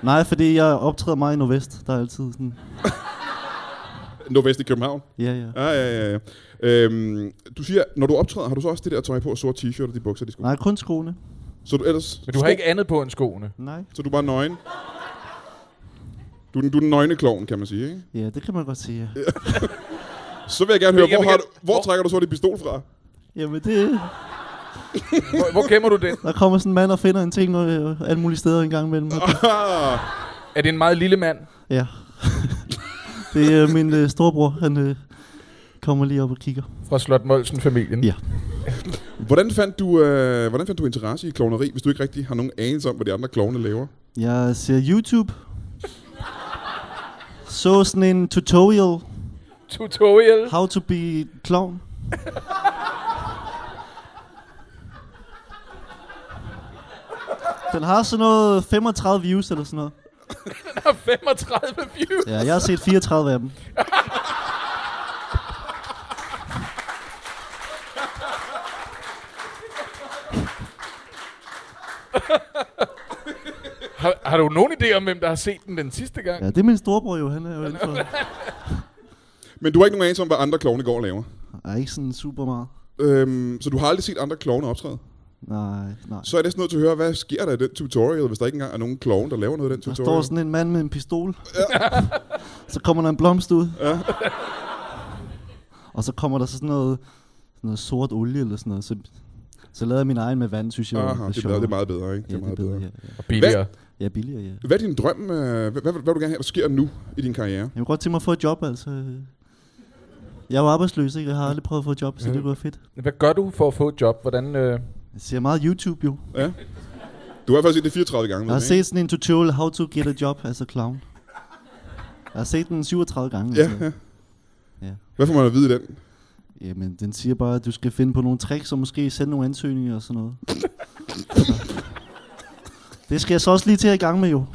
Nej, fordi jeg optræder meget i Nordvest. Der er altid sådan...
Nordvest i København.
Ja, ja.
Ja, ja, ja. ja. Øhm, du siger, når du optræder, har du så også det der tøj på, sort t-shirt og de bukser, de sko?
Nej, kun skoene.
Så du ellers...
Men du har ikke andet på end skoene.
Nej.
Så du er bare nøgen? Du, er den- du er den nøgne klovn, kan man sige, ikke?
Ja, det kan man godt sige. Ja.
Så vil jeg gerne høre,
Jeg
hvor,
vil
har du,
gerne-
hvor
hvor-
trækker du så din pistol fra?
Jamen, det...
Hvor, hvor gemmer du den?
Der kommer sådan en mand og finder en ting øh, alle mulige steder en gang imellem.
Ah,
Er det en meget lille mand?
Ja. det er øh, min øh, storebror, han øh, kommer lige op og kigger.
Fra Slot Molsen-familien.
Ja.
hvordan, fandt du, øh, hvordan fandt du interesse i klovneri, hvis du ikke rigtig har nogen anelse om, hvad de andre klovne laver?
Jeg ser YouTube. Så sådan en tutorial,
Tutorial.
how to be clown. Den har sådan noget 35 views eller sådan noget.
Der er 35 views.
Ja, jeg har set 34 af dem.
Har, har du nogen idé om, hvem der har set den den sidste gang?
Ja, det er min storebror jo, han er jo inden for.
Men du har ikke nogen anelse om, hvad andre klovne går og laver.
Nej, ikke sådan super meget.
Øhm, så du har aldrig set andre klovne optræde.
Nej, nej.
Så er jeg næsten nødt til at høre, hvad sker der i den tutorial, hvis der ikke engang er nogen klovne, der laver noget i den
Der
tutorial?
står sådan en mand med en pistol. så kommer der en blomst ud. Ja. og så kommer der så sådan noget, sådan noget sort olie eller sådan noget. Så, så lavede jeg min egen med vand, synes jeg.
Aha, det, er bedre, det er meget bedre, ikke?
ja, det er
meget
bedre. Ja, ja.
Og billigere.
ja, billigere, ja.
Hvad er din drøm? Øh, hvad, hvad, hvad vil du gerne have, der sker nu i din karriere?
Jeg kunne godt tænke mig at få et job, altså. Jeg er jo arbejdsløs, ikke? Jeg har aldrig prøvet at få et job, så det kunne være fedt.
Hvad gør du for at få et job? Hvordan, øh,
Jeg ser meget YouTube, jo.
Ja. Du har i hvert fald set det 34 gange. ved
Jeg har
jeg,
set sådan en tutorial, how to get a job as a clown. Jeg har set den 37 gange.
Ja,
altså.
ja.
ja.
Hvad får man at vide i den?
Jamen, den siger bare, at du skal finde på nogle tricks, og måske sende nogle ansøgninger og sådan noget. det skal jeg så også lige til at i gang med, jo.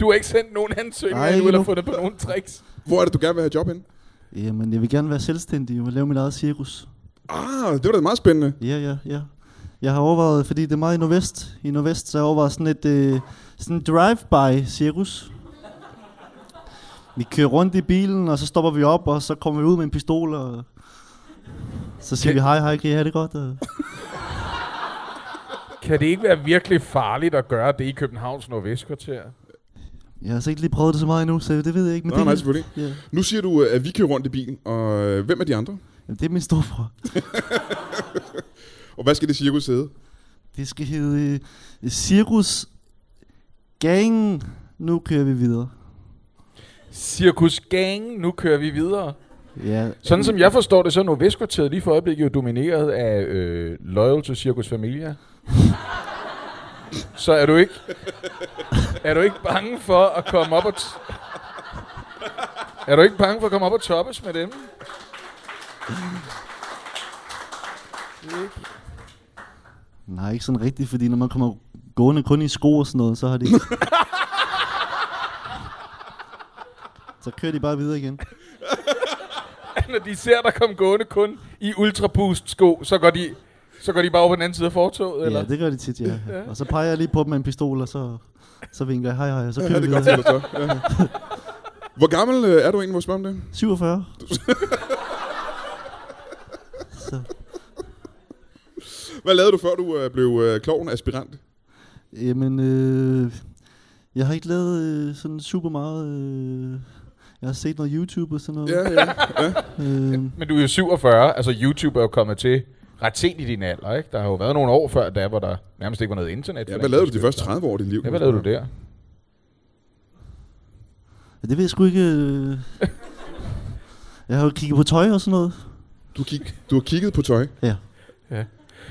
du har ikke sendt nogen ansøgninger
Nej,
endnu,
ikke
eller
endnu.
fundet på nogen tricks.
Hvor er det, du gerne vil have job hen?
Jamen, jeg vil gerne være selvstændig og lave mit eget cirkus.
Ah, det var da meget spændende.
Ja, ja, ja. Jeg har overvejet, fordi det er meget i Nordvest, i Nordvest så har jeg overvejet sådan et øh, sådan en drive-by cirkus. Vi kører rundt i bilen, og så stopper vi op, og så kommer vi ud med en pistol, og så siger
Kan-
vi, hej, hej, kan I have det godt? Og...
Kan det ikke være virkelig farligt at gøre det i Københavns Nordvestkvarter?
Jeg har altså ikke lige prøvet det så meget endnu, så det ved jeg ikke. Men
Nå,
det,
nej, selvfølgelig.
Ja.
Nu siger du, øh, at vi kører rundt i bilen, og øh, hvem er de andre?
Jamen, det er min storebror.
Og hvad skal det cirkus hedde?
Det skal hedde øh, Cirkus Gang. Nu kører vi videre.
Cirkus Gang, nu kører vi videre.
Ja,
Sådan som jeg forstår det, så er Nordvestkvarteret lige for øjeblikket jo domineret af øh, Loyal to Circus Familia. så er du ikke er du ikke bange for at komme op og t- er du ikke bange for at komme op og toppes med dem?
nej, ikke sådan rigtigt, fordi når man kommer gående kun i sko og sådan noget, så har det ikke... så kører de bare videre igen.
Når de ser dig komme gående kun i Ultra Boost sko, så går de så går de bare over på den anden side af fortoget, eller?
Ja, det gør de tit, ja. Og så peger jeg lige på dem med en pistol, og så, så vinker jeg, hej, hej, og så kører vi
Det er
videre.
godt så. Ja. Hvor gammel øh, er du egentlig, må jeg spørge om det?
47. så.
Hvad lavede du, før du øh, blev øh, kloven aspirant?
Jamen, øh, jeg har ikke lavet øh, sådan super meget... Øh, jeg har set noget YouTube og sådan noget.
Ja, ja.
Øh,
Men du er jo 47, altså YouTube er jo kommet til ret sent i din alder, ikke? Der har jo været nogle år før da, hvor der nærmest ikke var noget internet.
ja hvad lavede du de første 30 år i dit liv?
Ja, hvad lavede du der?
det ved jeg sgu ikke... Øh. Jeg har jo kigget på tøj og sådan noget.
Du, kig, du har kigget på tøj.
Ja.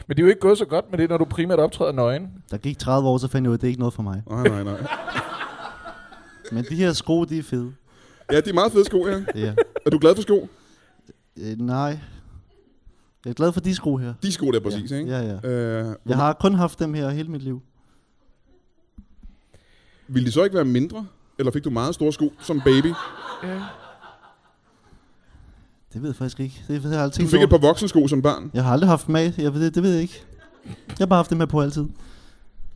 Men det er jo ikke gået så godt med det, når du primært optræder nøgen.
Der gik 30 år, så fandt jeg ud af, at det er ikke noget for mig.
Nej, nej, nej.
Men de her sko, de er fede.
Ja, det er meget fede sko, ja.
Ja.
Er du glad for sko?
Øh, nej. Jeg er glad for de sko her.
De sko der præcis, ikke?
Ja, ja.
Øh,
Jeg har kun haft dem her hele mit liv.
ville de så ikke være mindre? Eller fik du meget store sko som baby?
Det ved jeg faktisk ikke. Det ved jeg aldrig
Du
tænkt
fik et
over.
par voksensko som barn.
Jeg har aldrig haft dem af. Jeg ved, det, det ved jeg ikke. Jeg har bare haft dem her på altid.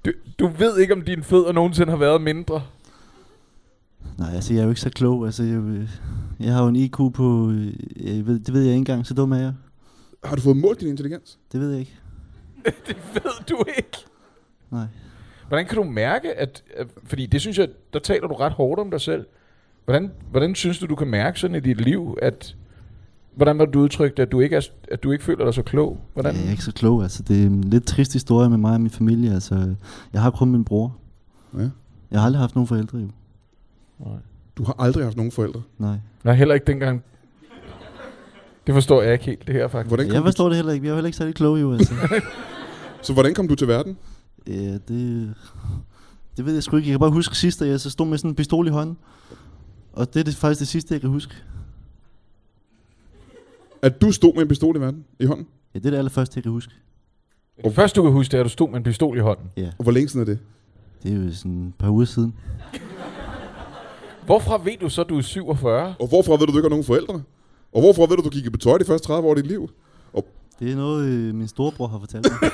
Du, du ved ikke, om dine fødder nogensinde har været mindre.
Nej, altså, jeg er jo ikke så klog. Altså, jeg, øh, jeg har jo en IQ på... øh, Jeg ved, det ved jeg ikke engang, så dum er jeg.
Har du fået målt din intelligens?
Det ved jeg ikke.
Det ved du ikke.
Nej.
Hvordan kan du mærke, at... at- Fordi det synes jeg, der taler du ret hårdt om dig selv. Hvordan, hvordan synes du, du kan mærke sådan i dit liv, at... Hvordan var det, du udtrykte, at du ikke, er, at du ikke føler dig så klog? Hvordan?
Ja, jeg er ikke så klog. Altså, det er en lidt trist historie med mig og min familie. Altså, øh, jeg har kun min bror.
Ja.
Jeg har aldrig haft nogen forældre, jo.
Du har aldrig haft nogen forældre.
Nej.
Nej, heller ikke dengang. Det forstår jeg ikke helt, det her faktisk.
Hvordan kom,
Jeg forstår det heller ikke. Jeg er heller ikke særlig klog, jo. Altså.
så hvordan kom du til verden?
ja, det, det ved jeg sgu ikke. Jeg kan bare huske sidst, at jeg så stod med sådan en pistol i hånden. Og det er det, faktisk det sidste, jeg kan huske.
At du stod med en pistol i verden i hånden?
Ja, det er det allerførste, jeg kan huske.
Det første, du kan huske, det er, at du stod med en pistol i hånden.
Og hvor længe siden er det?
Det er jo sådan et par uger siden.
Hvorfra ved du så, at du er 47?
Og hvorfra ved du, du ikke har nogen forældre? Og hvorfra ved du, du gik på tøj de første 30 år af dit liv?
Det er noget, øh, min storebror har fortalt mig.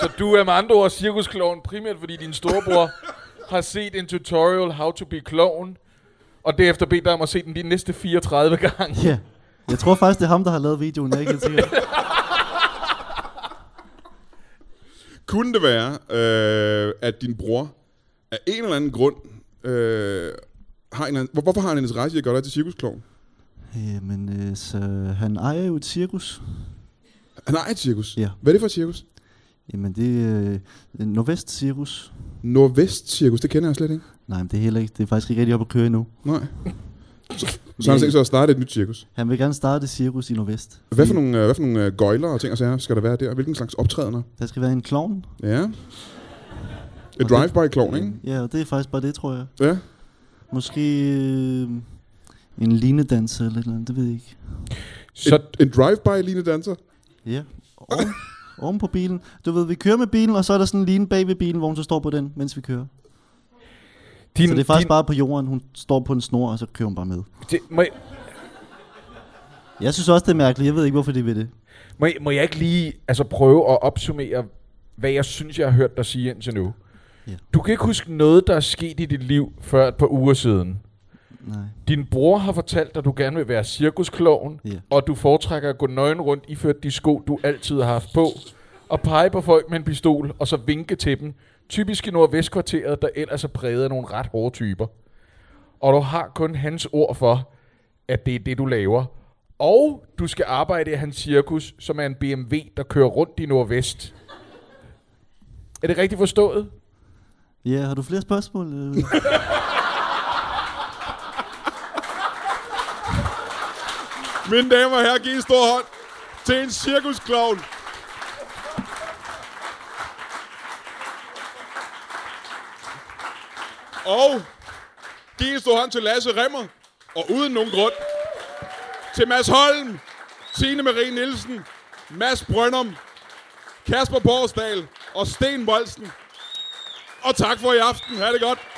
Så du er med andre ord cirkuskloven primært, fordi din storebror har set en tutorial, How to be clown, og derefter bedt dig om at se den de næste 34 gange.
ja. Jeg tror faktisk, det er ham, der har lavet videoen. Jeg er ikke helt sikker.
Kunne det være, øh, at din bror af en eller anden grund øh, har en eller anden, hvor, hvorfor har han en interesse i at gøre dig til cirkusklovn?
Ja, men øh, så han ejer jo et cirkus.
Han ejer Ah, et cirkus.
Ja.
Hvad er det for et cirkus?
Jamen, det er øh, Nordvest Cirkus.
Nordvest Cirkus, det kender jeg slet ikke.
Nej, men det er heller ikke. Det er faktisk ikke rigtig op at køre endnu.
Nej. Så, så har han tænkt sig at starte et nyt cirkus.
Han vil gerne starte et cirkus i Nordvest.
Hvad for nogle, øh, hvad for nogle øh, gøjler og ting og sager skal der være der? Hvilken slags optrædener?
Der skal være en klovn.
Ja. Et
Og
drive-by-klovn, ikke?
Ja, og det er faktisk bare det, tror jeg.
Ja.
Måske øh, en linedanser eller et eller andet, det ved jeg ikke.
Så,
Et, en drive-by-lignende danser?
Ja, oven, oven på bilen. Du ved, vi kører med bilen, og så er der sådan en line bag ved bilen, hvor hun så står på den, mens vi kører.
din,
Så det er faktisk
din,
bare på jorden. Hun står på en snor, og så kører hun bare med.
det, må, jeg-
Jeg synes også, det er mærkeligt. Jeg ved ikke, hvorfor de vil det.
Må jeg, må jeg ikke lige altså, prøve at opsummere, hvad jeg synes, jeg har hørt dig sige indtil nu?
Ja.
Du kan ikke huske noget, der er sket i dit liv før et par uger siden.
Nej.
Din bror har fortalt dig, at du gerne vil være cirkuskloven,
Ja.
og du foretrækker at gå nøgen rundt iført de sko, du altid har haft på, og pege på folk med en pistol, og så vinke til dem. Typisk i Nordvestkvarteret, der ellers er præget af nogle ret hårde typer. Og du har kun hans ord for, at det er det, du laver. Og du skal arbejde i hans cirkus, som er en BMW, der kører rundt i Nordvest. Er det rigtigt forstået?
Ja, har du flere spørgsmål? Øh,
Mine damer og herrer, giv en stor hånd til en cirkusklovn. Og giv en stor hånd til Lasse Remmer, og uden nogen grund, til Mads Holm, Signe Marie Nielsen, Mads Brøndum, Kasper Borsdal og Sten Bolsen. Og tak for i aften. Ha' det godt.